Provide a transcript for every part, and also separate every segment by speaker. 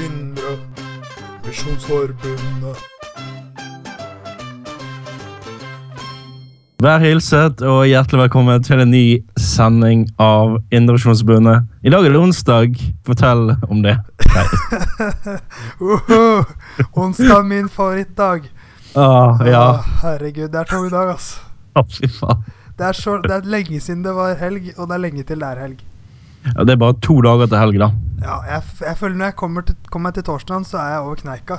Speaker 1: Indre Misjonsforbundet.
Speaker 2: Vær hilset og hjertelig velkommen til en ny sending av Indremisjonsforbundet. I dag er det onsdag. Fortell om det.
Speaker 1: Uhu! Onsdag min favorittdag.
Speaker 2: Ah, ja.
Speaker 1: Å, herregud, det er tung dag, ass.
Speaker 2: Å, Fy faen.
Speaker 1: Det er, så, det er lenge siden det var helg, og det er lenge til det er helg.
Speaker 2: Ja, det er bare to dager til helg, da.
Speaker 1: Ja, jeg, f- jeg føler når jeg kommer, til, kommer meg til torsdagen, så er jeg over kneika.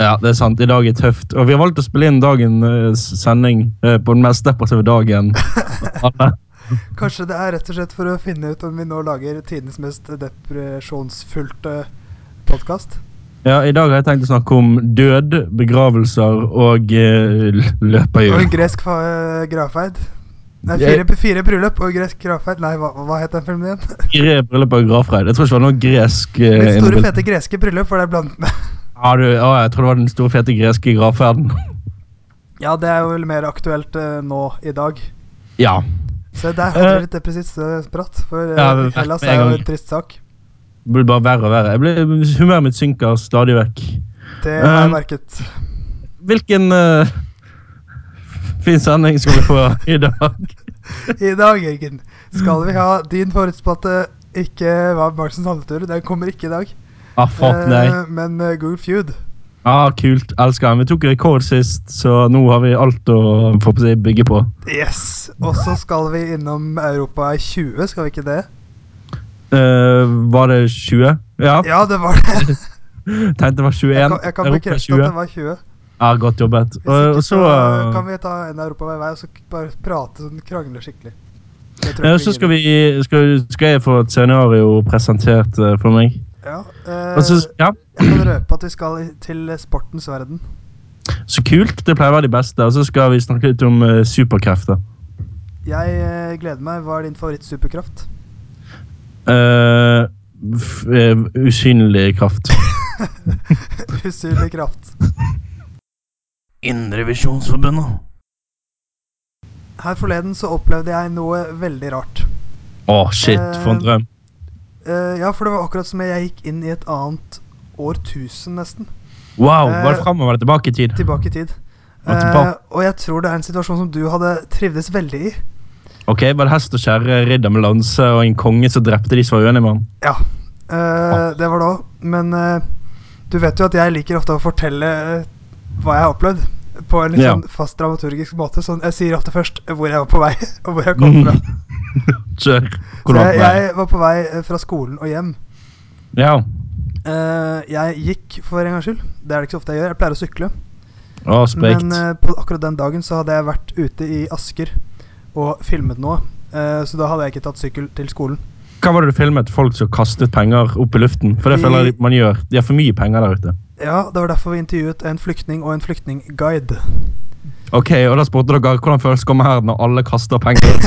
Speaker 2: Ja, det er sant. I dag er tøft. Og vi har valgt å spille inn dagen eh, s- sending eh, på den mest depressive dagen. Alle.
Speaker 1: Kanskje det er rett og slett for å finne ut om vi nå lager tidenes mest depresjonsfullte podkast.
Speaker 2: Ja, I dag har jeg tenkt å snakke om død, begravelser og eh, l-
Speaker 1: Og en
Speaker 2: løperhjul.
Speaker 1: gresk fa gravferd. Nei,
Speaker 2: Jeg-
Speaker 1: fire, fire bryllup og gresk gravferd. Nei, hva, hva het den filmen igjen?
Speaker 2: Fire bryllup og gravferd. Jeg tror ikke det var noe gresk eh,
Speaker 1: Mitt store,
Speaker 2: innbild-
Speaker 1: fete greske bryllup var det jeg blandet med.
Speaker 2: Ja, du, ja, jeg tror det var den store, fete greske gravferden.
Speaker 1: Ja, det er jo vel mer aktuelt eh, nå i dag.
Speaker 2: Ja.
Speaker 1: Så der hadde
Speaker 2: Eh.
Speaker 1: vi litt depressivt eh, prat, for eh,
Speaker 2: Ja, det vet
Speaker 1: Hellas
Speaker 2: med
Speaker 1: er
Speaker 2: en
Speaker 1: jo
Speaker 2: gang.
Speaker 1: en trist sak.
Speaker 2: Det blir bare verre og verre. Jeg blir, humøret mitt synker stadig vekk.
Speaker 1: Det har jeg
Speaker 2: Um.
Speaker 1: merket.
Speaker 2: Hvilken eh, fin sending skal vi få i dag?
Speaker 1: I dag, Jørgen, skal vi ha din forutspåtte ikke hva Marksen samletur. Den kommer ikke i dag,
Speaker 2: Ah, fuck,
Speaker 1: Eh,
Speaker 2: nei.
Speaker 1: men eh, Google Feud.
Speaker 2: Ah, kult. Elsker den. Vi tok rekord sist, så nå har vi alt å få på å si, bygge på.
Speaker 1: Yes! Og så skal vi innom Europa i 20, skal vi ikke det?
Speaker 2: Eh, var det 20? Ja.
Speaker 1: Ja, det var det.
Speaker 2: Tenkte det var 21.
Speaker 1: Jeg kan, jeg kan
Speaker 2: Europa
Speaker 1: bekrefte at
Speaker 2: 20.
Speaker 1: det var 20.
Speaker 2: Ja, Ah, godt jobbet.
Speaker 1: Hvis
Speaker 2: Og
Speaker 1: ikke
Speaker 2: og så
Speaker 1: så eh,
Speaker 2: eh,
Speaker 1: kan vi ta en Europa hver vei og så k- bare prate sånn krangle skikkelig. Det tror jeg
Speaker 2: ja,
Speaker 1: ikke
Speaker 2: så skal,
Speaker 1: gidder.
Speaker 2: vi, skal, skal jeg få et scenario presentert eh, for meg.
Speaker 1: Ja,
Speaker 2: Og så,
Speaker 1: eh,
Speaker 2: ja,
Speaker 1: jeg kan røpe at vi skal i- til eh, sportens verden.
Speaker 2: så kult. Det pleier å være de beste. Og så skal vi snakke litt om eh, superkrefter.
Speaker 1: Jeg eh, gleder meg. Hva er din favorittsuperkraft?
Speaker 2: Eh, f eh, usynlig kraft.
Speaker 1: Usynlig kraft.
Speaker 2: Indrevisjonsforbundet.
Speaker 1: Her forleden så opplevde jeg noe veldig rart.
Speaker 2: Å, shit, for en drøm.
Speaker 1: Eh, ja, for det var akkurat som jeg gikk inn i et annet årtusen, nesten.
Speaker 2: Wow, var
Speaker 1: eh,
Speaker 2: det framover eller tilbake i tid?
Speaker 1: Tilbake i tid.
Speaker 2: Og tilbake.
Speaker 1: Eh, og jeg tror det er en situasjon som du hadde trivdes veldig i.
Speaker 2: Ok, Var det hest og kjerre, ridder med lanse og en konge som drepte de som var uenige med ham?
Speaker 1: Ja, eh, det var det òg. Men eh, du vet jo at jeg liker ofte å fortelle eh, hva jeg har opplevd. På en litt
Speaker 2: Ja.
Speaker 1: sånn fast dramaturgisk måte. Sånn, jeg sier ofte først hvor jeg var på vei, og hvor jeg kom fra.
Speaker 2: Kjør. Mm, Hvor
Speaker 1: Så
Speaker 2: var
Speaker 1: jeg,
Speaker 2: du?
Speaker 1: jeg var på vei eh, fra skolen og hjem.
Speaker 2: Ja.
Speaker 1: Eh, jeg gikk for en gangs skyld. Det er det ikke så ofte jeg gjør. Jeg pleier å sykle.
Speaker 2: Å, sprekt.
Speaker 1: Men eh, på akkurat den dagen så hadde jeg vært ute i Asker og filmet noe. Eh, så da hadde jeg ikke tatt sykkel til skolen.
Speaker 2: Hva var det du filmet? Folk som kastet penger opp i luften? For det
Speaker 1: Vi-
Speaker 2: føler jeg man gjør. De har for mye penger der ute.
Speaker 1: Ja, Det var derfor vi intervjuet en flyktning og en flyktningguide.
Speaker 2: Ok, og da spurte dere hvordan føles det å komme her når alle kaster penger. Er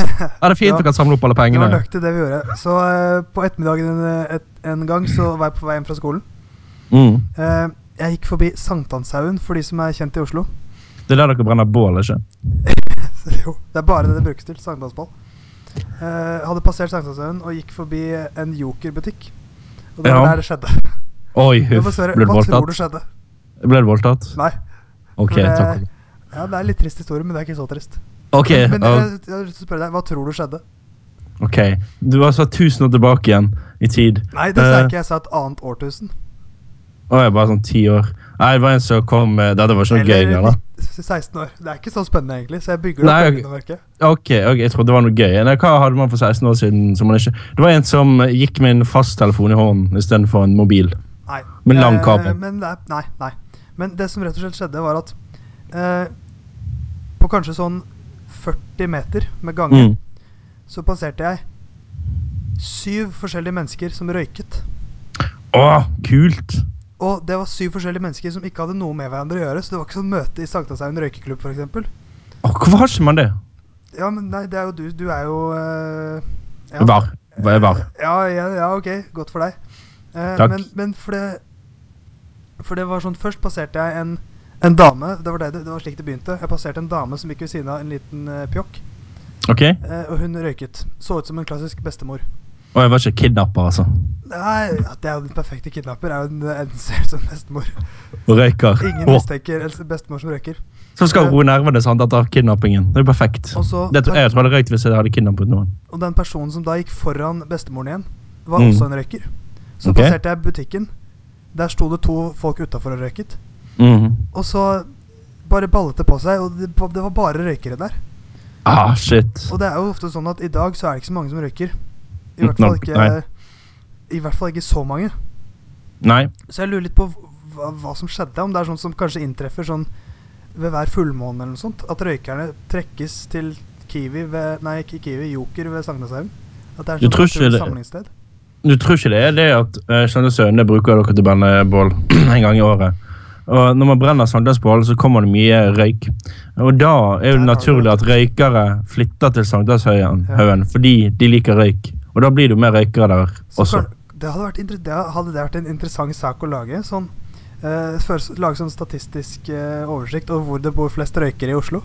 Speaker 2: det fint
Speaker 1: Ja.
Speaker 2: dere kan samle opp alle
Speaker 1: Det var
Speaker 2: pengene?
Speaker 1: nøyaktig det vi gjorde. Så eh, på ettermiddagen en, et, en gang så var jeg på vei hjem fra skolen.
Speaker 2: Mm.
Speaker 1: Eh, jeg gikk forbi Sankthanshaugen, for de som er kjent i Oslo.
Speaker 2: Det er der dere brenner bål, ikke?
Speaker 1: Så jo, det er bare det det brukes til. Sankthansball. Eh, hadde passert Sankthanshaugen og gikk forbi en jokerbutikk. Og det var
Speaker 2: Ja.
Speaker 1: der det skjedde.
Speaker 2: Oi,
Speaker 1: Jeg
Speaker 2: huff.
Speaker 1: får svare,
Speaker 2: Ble du
Speaker 1: Hva tror
Speaker 2: voldtatt?
Speaker 1: du skjedde?
Speaker 2: Ble du voldtatt?
Speaker 1: Nei.
Speaker 2: Ok,
Speaker 1: For det-
Speaker 2: takk.
Speaker 1: eh, Ja, Det er litt trist historie, men det er ikke så trist.
Speaker 2: Ok,
Speaker 1: men eh,
Speaker 2: ja,
Speaker 1: jeg, jeg har lyst til å spørre deg, Hva tror du skjedde?
Speaker 2: ok. Du var satt tusen år tilbake igjen i tid.
Speaker 1: Nei, det sa
Speaker 2: Eh.
Speaker 1: jeg ikke. Jeg sa et annet årtusen.
Speaker 2: Og jeg bare sånn ti år. Nei, det var en som kom med Dette var ikke noe gøy.
Speaker 1: Eller
Speaker 2: Eller?
Speaker 1: litt- 16 år. Det er ikke så spennende, egentlig. Så jeg bygger det
Speaker 2: Nei,
Speaker 1: opp.
Speaker 2: ok.
Speaker 1: ennå, merker jeg.
Speaker 2: Ok, ok, jeg trodde det var noe gøy. Nei, hva hadde man for 16 år siden som man ikke Det var en som eh, gikk med en fasttelefon i hånden istedenfor en mobil.
Speaker 1: Nei.
Speaker 2: Med lang
Speaker 1: Eh,
Speaker 2: kabel.
Speaker 1: men det er, nei, nei. Men det som rett og slett skjedde, var at eh, på kanskje sånn 40 meter med gange,
Speaker 2: Mm.
Speaker 1: så passerte jeg syv forskjellige mennesker som røyket.
Speaker 2: Å, kult!
Speaker 1: Og det var syv forskjellige mennesker som ikke hadde noe med hverandre å gjøre. Så det var ikke sånn møte i Sankthanshaugen røykeklubb, f.eks.
Speaker 2: Å, hvorfor har ikke man det?
Speaker 1: Ja, men nei, det er jo du. Du er jo eh, ja.
Speaker 2: Var. Var, var.
Speaker 1: Ja, ja, ja, ok. Godt for deg. Eh,
Speaker 2: Takk.
Speaker 1: Men, men for det For det var sånn Først passerte jeg en, en dame. Det var, det, det var slik det begynte. Jeg passerte en dame som gikk ved siden av en liten eh, pjokk.
Speaker 2: Ok?
Speaker 1: eh, og hun røyket. Så ut som en klassisk bestemor.
Speaker 2: Og jeg var ikke kidnapper, altså.
Speaker 1: Nei, ja, det er jo den perfekte kidnapper. Er jo en, en ser ut som bestemor.
Speaker 2: Og røyker.
Speaker 1: Ingen
Speaker 2: Å,
Speaker 1: mistenker en bestemor som røyker.
Speaker 2: så skal hun roe nervene sant, etter kidnappingen. Det er jo perfekt.
Speaker 1: Og, så,
Speaker 2: Det, tror- jeg tror jeg hadde røykt hvis jeg hadde kidnappet noen.
Speaker 1: og den personen som da gikk foran bestemoren igjen, var
Speaker 2: Mm.
Speaker 1: også en røyker. Så
Speaker 2: Ok.
Speaker 1: passerte jeg butikken. Der sto det to folk utafor og røyket.
Speaker 2: Mhm.
Speaker 1: Og så bare ballet det på seg, og det, det var bare røykere der.
Speaker 2: Ah, shit.
Speaker 1: Og det er jo ofte sånn at i dag så er det ikke så mange som røyker. I hvert fall
Speaker 2: Nok-
Speaker 1: ikke,
Speaker 2: nei.
Speaker 1: i hvert fall ikke så mange.
Speaker 2: Nei.
Speaker 1: Så jeg lurer litt på hva, hva som skjedde, om det er sånt som kanskje inntreffer sånn ved hver fullmåne eller noe sånt. At røykerne trekkes til Kiwi ved Nei, ikke Kiwi, Joker ved Sagnashaugen. At det er
Speaker 2: Du
Speaker 1: sånn
Speaker 2: tror ikke
Speaker 1: naturlig
Speaker 2: det-
Speaker 1: samlingssted.
Speaker 2: Du tror ikke det er det at eh, Skjønne Sønne bruker dere til å brenne bål en gang i året. Og når man brenner sankthansbål, så kommer det mye røyk. Og da er
Speaker 1: Der har
Speaker 2: det
Speaker 1: du
Speaker 2: naturlig at røykere flytter til Sankthanshaugen haugen, fordi de liker røyk. Og da blir det jo mer røykere der
Speaker 1: Så
Speaker 2: også.
Speaker 1: kan- det hadde, vært, inter- det hadde det vært en interessant sak å lage. Sånn, eh, først lage sånn statistisk eh, oversikt over hvor det bor flest røykere i Oslo.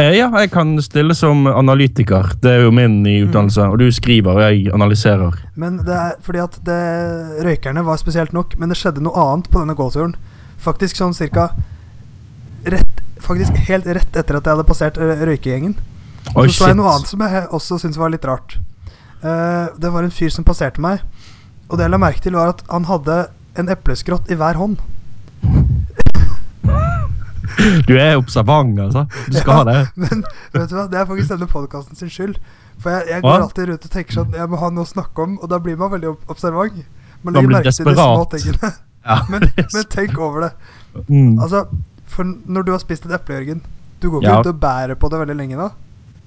Speaker 2: Eh, ja, jeg kan stille som analytiker. Det er jo min
Speaker 1: Mm.
Speaker 2: nye utdannelse. Og du skriver, og jeg analyserer.
Speaker 1: Men det er fordi at det, røykerne var spesielt nok, men det skjedde noe annet på denne gåturen. Faktisk sånn cirka rett, Faktisk helt rett etter at jeg hadde passert eh, røykegjengen.
Speaker 2: Oi,
Speaker 1: så så jeg noe
Speaker 2: shit.
Speaker 1: annet som jeg også syntes var litt rart. Eh, det var en fyr som passerte meg, og det jeg la merke til, var at han hadde en epleskrott i hver hånd.
Speaker 2: Du er observant, altså. Du skal ha det.
Speaker 1: Men vet du hva, det er faktisk denne podkasten sin skyld. For jeg, jeg går
Speaker 2: Hva?
Speaker 1: alltid rundt og tenker sånn Jeg må ha noe å snakke om, og da blir man veldig ob- observant.
Speaker 2: Man
Speaker 1: Man legger
Speaker 2: blir
Speaker 1: merke til de små
Speaker 2: desperat.
Speaker 1: tingene.
Speaker 2: Ja,
Speaker 1: Men,
Speaker 2: det er
Speaker 1: men
Speaker 2: så-
Speaker 1: tenk over det.
Speaker 2: Mm.
Speaker 1: Altså, for når du har spist et eple, Jørgen Du går ikke
Speaker 2: Ja.
Speaker 1: rundt og bærer på det veldig lenge da?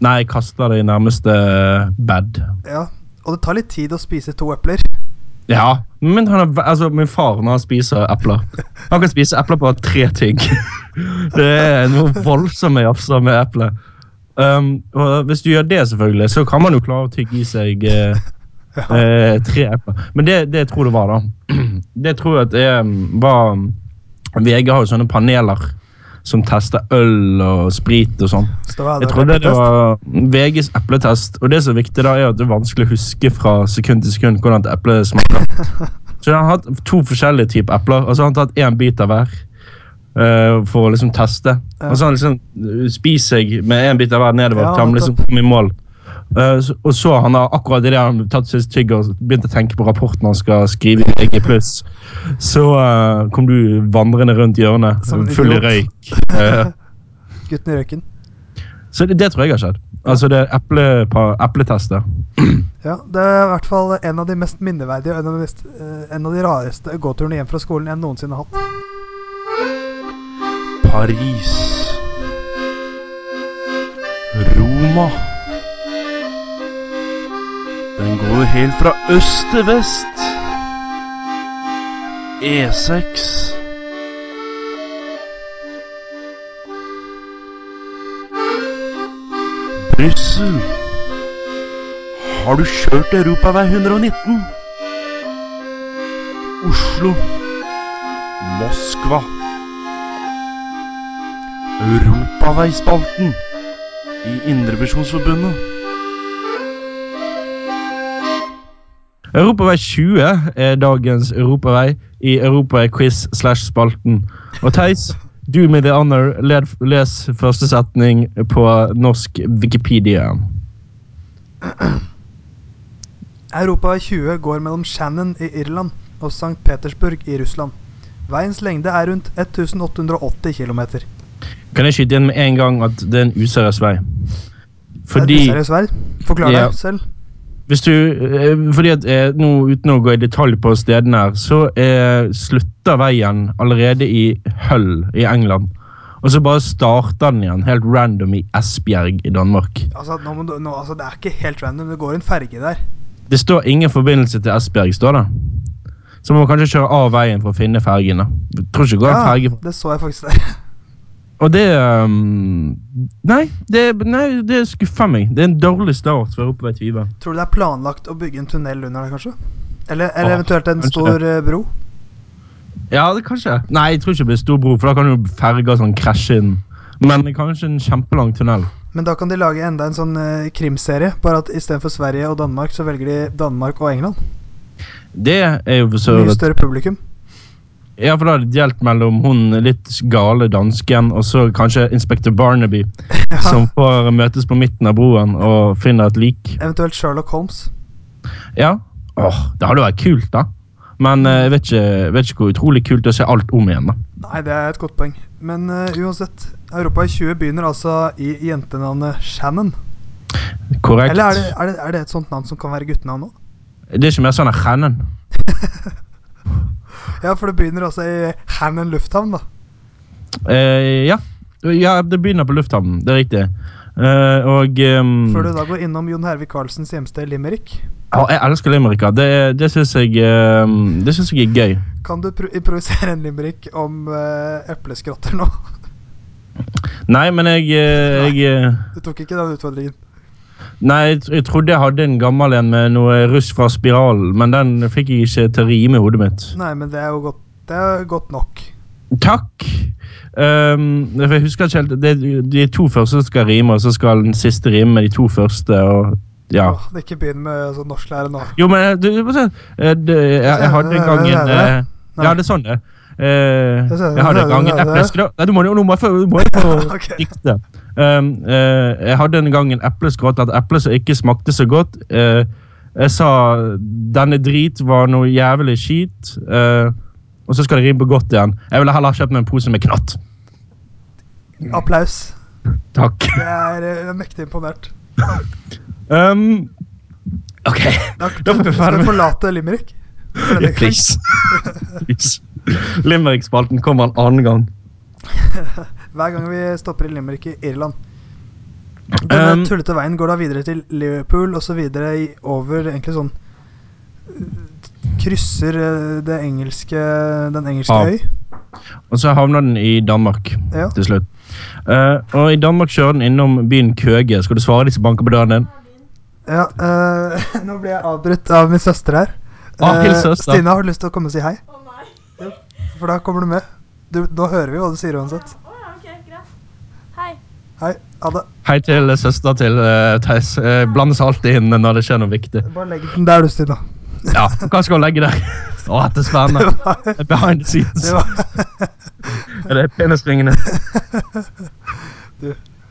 Speaker 2: Nei, jeg kaster det i nærmeste eh, bed.
Speaker 1: Ja. Og det tar litt tid å spise to epler.
Speaker 2: Ja, men han er, altså, min far når han spiser epler Han kan spise epler på tre tygg. Det er noe voldsomme jafser med eple. Um, og hvis du gjør det, selvfølgelig, så kan man jo klare å tygge i seg eh, eh, tre epler. Men det, det jeg tror det var, da Det jeg tror jeg at det var um, VG har jo sånne paneler som tester øl og sprit og sånn.
Speaker 1: Så da
Speaker 2: Jeg
Speaker 1: er det
Speaker 2: trodde det
Speaker 1: epletest.
Speaker 2: var VGs epletest, og det som er viktig da, er at det er vanskelig å huske fra sekund til sekund hvordan et eple smaker. Så han har hatt to forskjellige typer epler, og så har han tatt én bit av hver. eh, for å liksom teste.
Speaker 1: Ja.
Speaker 2: Og så har han liksom eh, spist seg med én bit av hver nedover
Speaker 1: Ja,
Speaker 2: til han
Speaker 1: nettopp.
Speaker 2: liksom kom i mål. Eh, så, og så han har akkurat i det han tatt sist tygg og begynt å tenke på rapporten han skal skrive i VG+. Så eh, kom du vandrende rundt hjørnet,
Speaker 1: Som en
Speaker 2: full i
Speaker 1: idiot.
Speaker 2: røyk. eh,
Speaker 1: Gutten i røyken.
Speaker 2: så det, det tror jeg har skjedd. Altså det er eple, pa- epletester.
Speaker 1: Ja, Det er i hvert fall en av de mest minneverdige og en av de, mest, eh, en av de rareste gåturene hjem fra skolen jeg noensinne har hatt.
Speaker 3: Paris. Roma. Den går helt fra øst til vest. E E6. Brussel. Har du kjørt Europavei 119? Oslo. Moskva. Europaveispalten i Indrevisjonsforbundet.
Speaker 2: Europavei 20 er dagens europavei i Europaquiz slash spalten. Og Theis, du med the honor, led, les første setning på norsk Wikipedia.
Speaker 1: Europa 20 går mellom Shannon i Irland og St. Petersburg i Russland. Veiens lengde er rundt 1880 km.
Speaker 2: Kan jeg skyte inn med en gang at det er en useriøs vei? Fordi
Speaker 1: Seriøst vær? Forklar
Speaker 2: Ja.
Speaker 1: deg selv.
Speaker 2: Hvis du, eh, fordi at eh, nå Uten å gå i detalj på stedene her, så eh, slutter veien allerede i Hull i England. Og så bare starter den igjen, helt random, i Esbjerg i Danmark.
Speaker 1: Altså, nå må du, nå, altså, Det er ikke helt random. Det går en ferge der.
Speaker 2: Det står ingen forbindelse til Esbjerg, står det. Så man må kanskje kjøre av veien for å finne fergene. Jeg Tror ikke det går en ferge
Speaker 1: det så jeg faktisk der.
Speaker 2: Og det ehm, Nei, det, nei, det skuffer meg. Det er en dårlig start for Europavei 20.
Speaker 1: Tror du det er planlagt å bygge en tunnel under der, kanskje? Eller, eller
Speaker 2: Åh,
Speaker 1: eventuelt en
Speaker 2: kanskje
Speaker 1: stor eh, bro?
Speaker 2: Ja, det kanskje. Nei, jeg tror ikke det blir stor bro, for da kan jo ferger sånn krasje inn. Men kanskje en kjempelang tunnel.
Speaker 1: Men da kan de lage enda en sånn eh, krimserie, bare at istedenfor Sverige og Danmark, så velger de Danmark og England.
Speaker 2: Det er jo for så
Speaker 1: Mye
Speaker 2: vidt
Speaker 1: større publikum.
Speaker 2: Ja, for da hadde det delt mellom hun litt gale dansken og så kanskje Inspector Barnaby,
Speaker 1: Ja,
Speaker 2: som får møtes på midten av broen og finner et lik.
Speaker 1: Eventuelt Sherlock Holmes.
Speaker 2: Ja. Åh, det hadde vært kult, da. Men eh, jeg vet ikke, jeg vet ikke hvor utrolig kult det er å se alt om igjen, da.
Speaker 1: Nei, det er et godt poeng. Men eh, uansett, Europa i 20 begynner altså i jentenavnet Shannon.
Speaker 2: Korrekt.
Speaker 1: Eller er det, er, det, er det et sånt navn som kan være guttenavn òg?
Speaker 2: det... er ikke mer sånn Hennen.
Speaker 1: Ja, for det begynner altså i Hannon lufthavn, da.
Speaker 2: Eh, ja. ja, det begynner på lufthavnen. Det er riktig. Eh, og ehm,
Speaker 1: Før du da går innom Jon Hervik Karlsens hjemsted Limerick.
Speaker 2: ja, Ah, Jeg elsker Limericker. Det, det syns jeg, ehm, det synes jeg er gøy.
Speaker 1: Kan du pro improvisere en limerick om eh, epleskrotter nå?
Speaker 2: Nei, men jeg, eh, jeg eh,
Speaker 1: Du tok ikke den utfordringen.
Speaker 2: Nei, jeg, tr- jeg trodde jeg hadde en gammel en med noe russ fra Spiralen, men den fikk jeg ikke til å rime i hodet mitt.
Speaker 1: Nei, men det er jo godt, det er godt nok.
Speaker 2: Takk! Ehm, for jeg husker ikke helt det, De to første skal rime, og så skal den siste rime med de to første, og ja.
Speaker 1: Åh, det ikke begynn med sånn norsklære nå.
Speaker 2: Jo, men du, du må se. Eh, det- jeg, jeg hadde en gang en eh, Ja, det er sånn det. Eh, jeg hadde en gang en epleskrått Nei, du må jo nå må jeg få- du må jo få
Speaker 1: Ok.
Speaker 2: dikte. Um, eh, jeg hadde en gang en epleskrått et eple som ikke smakte så godt. Eh, jeg sa 'denne drit var noe jævlig skit', eh, og så skal det rime på godt igjen. Jeg ville heller kjøpt meg en pose med knatt.
Speaker 1: Applaus.
Speaker 2: Takk.
Speaker 1: Jeg er, eh, jeg er mektig imponert.
Speaker 2: Um, OK.
Speaker 1: Da,
Speaker 2: Da får vi
Speaker 1: skal
Speaker 2: ferdig
Speaker 1: vi
Speaker 2: med
Speaker 1: forlate Limerick. For denne gang.
Speaker 2: Please. Please. Limerick-spalten kommer en annen gang.
Speaker 1: Hver gang vi stopper i Limerick i Irland. Denne
Speaker 2: Um,
Speaker 1: tullete veien går da videre til Liverpool og så videre i, over egentlig sånn eh, Krysser eh, det engelske, den engelske
Speaker 2: Ja.
Speaker 1: øy.
Speaker 2: Og så havna den i Danmark.
Speaker 1: Ja.
Speaker 2: til slutt. Eh, og I Danmark kjører den innom byen Køge. Skal du svare de som banker på døren din?
Speaker 1: Ja, eh, nå ble jeg avbrutt av min søster her.
Speaker 2: Ah, hils
Speaker 1: Eh,
Speaker 2: søster.
Speaker 1: Stina, har du lyst til å komme og si hei?
Speaker 4: Å nei.
Speaker 1: For da kommer du med. Du, nå hører vi hva du sier uansett.
Speaker 4: Å ja, ok, greit. Hei.
Speaker 1: Hei, ha det.
Speaker 2: Hei til søster til uh, Theis. Eh, blandes alltid inn når det skjer noe viktig.
Speaker 1: Bare legg den der, du, Stina.
Speaker 2: Ja, Hva skal hun legge der? Å, dette er spennende. Behind the scenes.
Speaker 1: Det var,
Speaker 2: Er det penisringene?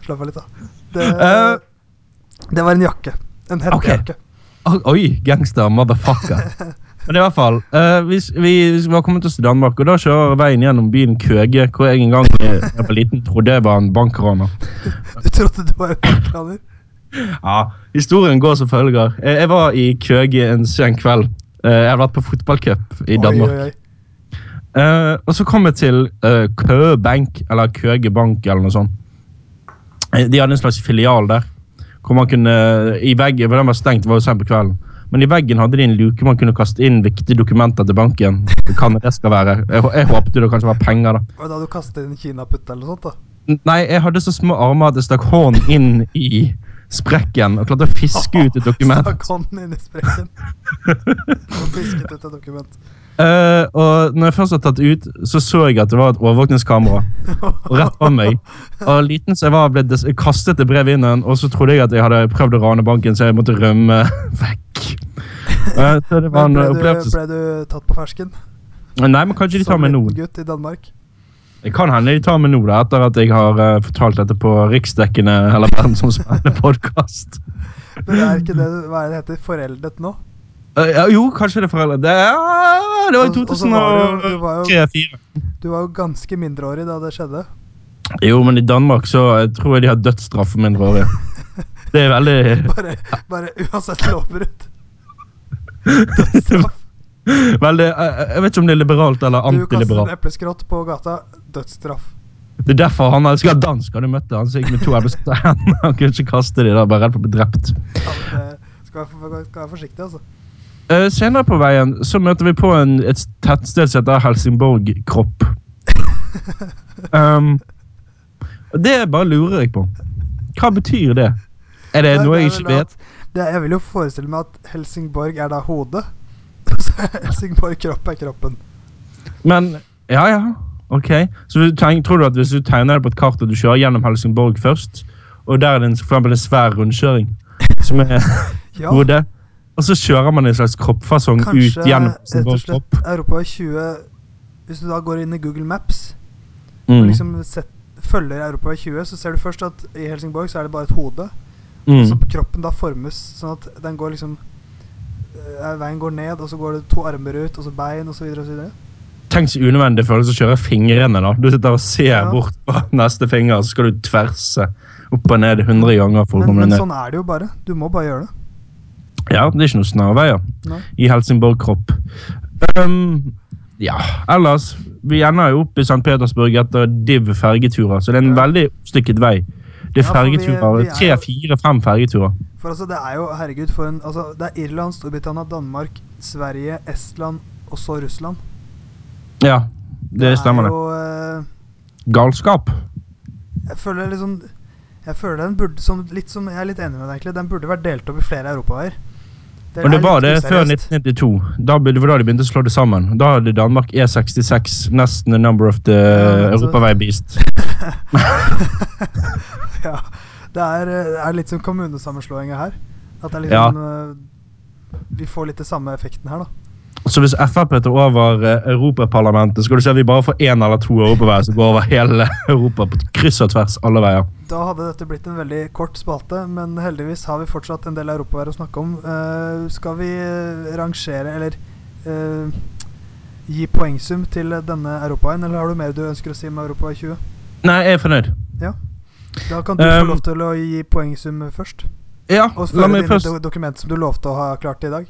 Speaker 1: slapp av litt, da. Det, det var en jakke. En hettejakke.
Speaker 2: Å, Oi, gangster, motherfucker. Men i hvert fall, eh, vi, s- vi var kommet oss til Danmark, og da kjører veien gjennom byen Køge, hvor jeg en gang eh, da jeg var liten trodde jeg var en bankraner.
Speaker 1: Du trodde du var en bankraner?
Speaker 2: Ja, historien går som følger. Jeg, jeg var i Køge en sen kveld. Eh, Jeg hadde vært på fotballcup i Danmark.
Speaker 1: Oi, oi, oi.
Speaker 2: Eh, og så kom jeg til eh, Køge Bank, eller Køge Bank, eller noe sånt. Eh, De hadde en slags filial der. Hvor man kunne, i veggen, for Den var stengt, det var jo sent på kvelden. Men i veggen hadde de en luke man kunne kaste inn viktige dokumenter til banken. Hva nå det skal være. Jeg, hå- jeg håpet det kanskje var penger, da.
Speaker 1: Var det da du kastet inn kinaputt eller noe sånt? da?
Speaker 2: Nei, jeg hadde så små armer at jeg stakk hånden inn i sprekken og klarte å fiske ut et dokument.
Speaker 1: Stakk hånden inn i sprekken. Og fisket ut et dokument.
Speaker 2: Eh, og når jeg først var tatt ut, så så jeg at det var et overvåkningskamera rett på meg. Og liten som jeg var, ble des kastet det brevet inn, i den, og så trodde jeg at jeg hadde prøvd å rane banken, så jeg måtte rømme vekk. Eh, så det var
Speaker 1: Men
Speaker 2: en
Speaker 1: ble, du,
Speaker 2: opplevelse.
Speaker 1: ble du tatt på fersken?
Speaker 2: Nei, men kanskje de tar
Speaker 1: Som
Speaker 2: meg nå.
Speaker 1: liten gutt i Danmark?
Speaker 2: Det kan hende de tar meg nå, da, etter at jeg har eh, fortalt dette på riksdekkende eller verdensomspennende podkast.
Speaker 1: Men er ikke det hva er det heter? Foreldet nå?
Speaker 2: Eh, ja, jo, kanskje det er foreldre. Det, ja, det var i
Speaker 1: Og- og så var det jo- det var jo-
Speaker 2: 2003-2004.
Speaker 1: Du var jo ganske mindreårig da det skjedde.
Speaker 2: Jo, men i Danmark så eh, tror jeg de har dødsstraff for mindreårige. Det er veldig
Speaker 1: Bare, bare uansett lovbrudd. Dødsstraff.
Speaker 2: Veldig eh, Jeg vet ikke om det er liberalt eller
Speaker 1: Du kaster en
Speaker 2: antiliberalt.
Speaker 1: epleskrott på gata. Dødsstraff.
Speaker 2: Det er derfor han elsker dansk. Hadde du møtt han, så gikk med to eplesteiner. Han kunne ikke kaste de der, bare redd for å bli drept.
Speaker 1: Ja, men det skal være, for- skal være forsiktig, altså.
Speaker 2: Eh, senere på veien så møter vi på en, et tettsted som heter Helsingborg Kropp. Um, og det bare lurer jeg på. Hva betyr det? Er det
Speaker 1: Nei,
Speaker 2: noe jeg
Speaker 1: er
Speaker 2: ikke
Speaker 1: vel
Speaker 2: vet?
Speaker 1: at- Det, jeg vil jo forestille meg at Helsingborg er da hodet. Så Helsingborg kropp er kroppen.
Speaker 2: Men Ja, ja. Ok. Så du tenk, tror du at hvis du tegner det på et kart og du kjører gjennom Helsingborg først, og der er det en, for eksempel en svær rundkjøring som er
Speaker 1: Ja,
Speaker 2: hodet. Og så kjører man en slags kroppfasong
Speaker 1: kanskje
Speaker 2: ut gjennom sin
Speaker 1: rett og slett
Speaker 2: kropp.
Speaker 1: Europa 20 Hvis du da går inn i Google Maps og
Speaker 2: Mm,
Speaker 1: liksom sett, følger Europa 20, så ser du først at i Helsingborg så er det bare et hode. Så
Speaker 2: mm,
Speaker 1: kroppen da formes sånn at den går liksom eh, Veien går ned, og så går det to armer ut, og så bein, og så videre og så videre.
Speaker 2: Tenk så unødvendig følelse å kjøre fingrene. da. Du sitter og ser
Speaker 1: Ja.
Speaker 2: bort på neste finger, så skal du tverse opp og ned 100 ganger. for å
Speaker 1: Men,
Speaker 2: komme deg
Speaker 1: men
Speaker 2: ned.
Speaker 1: sånn er det jo bare. Du må bare gjøre det.
Speaker 2: Ja, det er ikke noen snarveier
Speaker 1: Nei.
Speaker 2: i Helsingborg-kropp. Ehm, ja, ellers Vi ender jo opp i St. Petersburg etter div fergeturer, så det er en
Speaker 1: Ja.
Speaker 2: veldig stykket vei. Det er
Speaker 1: Ja, for vi- vi
Speaker 2: fergeturer.
Speaker 1: er jo-
Speaker 2: Tre-fire-fem fergeturer.
Speaker 1: For altså, det er jo Herregud, for en Altså, det er Irland, Storbritannia, Danmark, Sverige, Estland og så Russland.
Speaker 2: Ja, det stemmer,
Speaker 1: er
Speaker 2: det.
Speaker 1: jo eh,
Speaker 2: Galskap. Jeg
Speaker 1: Jeg føler liksom Jeg føler den burde som, litt som, Jeg er litt enig med deg, egentlig. Den burde vært delt opp i flere europaveier.
Speaker 2: Men det
Speaker 1: er
Speaker 2: var
Speaker 1: litt
Speaker 2: det før
Speaker 1: useriøst.
Speaker 2: 1992. Da, ble- det var da de begynte å slå det sammen. Da hadde Danmark E66, nesten the number of the
Speaker 1: Ja, altså-
Speaker 2: europavei beast.
Speaker 1: ja. Det er, eh, det er litt som kommunesammenslåinga her. At det er
Speaker 2: Ja.
Speaker 1: liksom eh, Vi får litt det samme effekten her, da.
Speaker 2: Så hvis Frp tar over eh, Europaparlamentet, skal du se at vi bare får én eller to europaveier som går over hele Europa på kryss og tvers alle veier.
Speaker 1: Da hadde dette blitt en veldig kort spalte, men heldigvis har vi fortsatt en del europavær å snakke om. Eh, skal vi eh, rangere, eller eh, gi poengsum til denne europaveien, eller har du mer du ønsker å si om europavei 20?
Speaker 2: Nei, jeg er fornøyd.
Speaker 1: Da kan du få
Speaker 2: Um,
Speaker 1: lov til å gi poengsum først.
Speaker 2: Ja,
Speaker 1: Og
Speaker 2: la
Speaker 1: føre
Speaker 2: meg
Speaker 1: dine
Speaker 2: først
Speaker 1: do dokument som du lovte å ha klart i dag.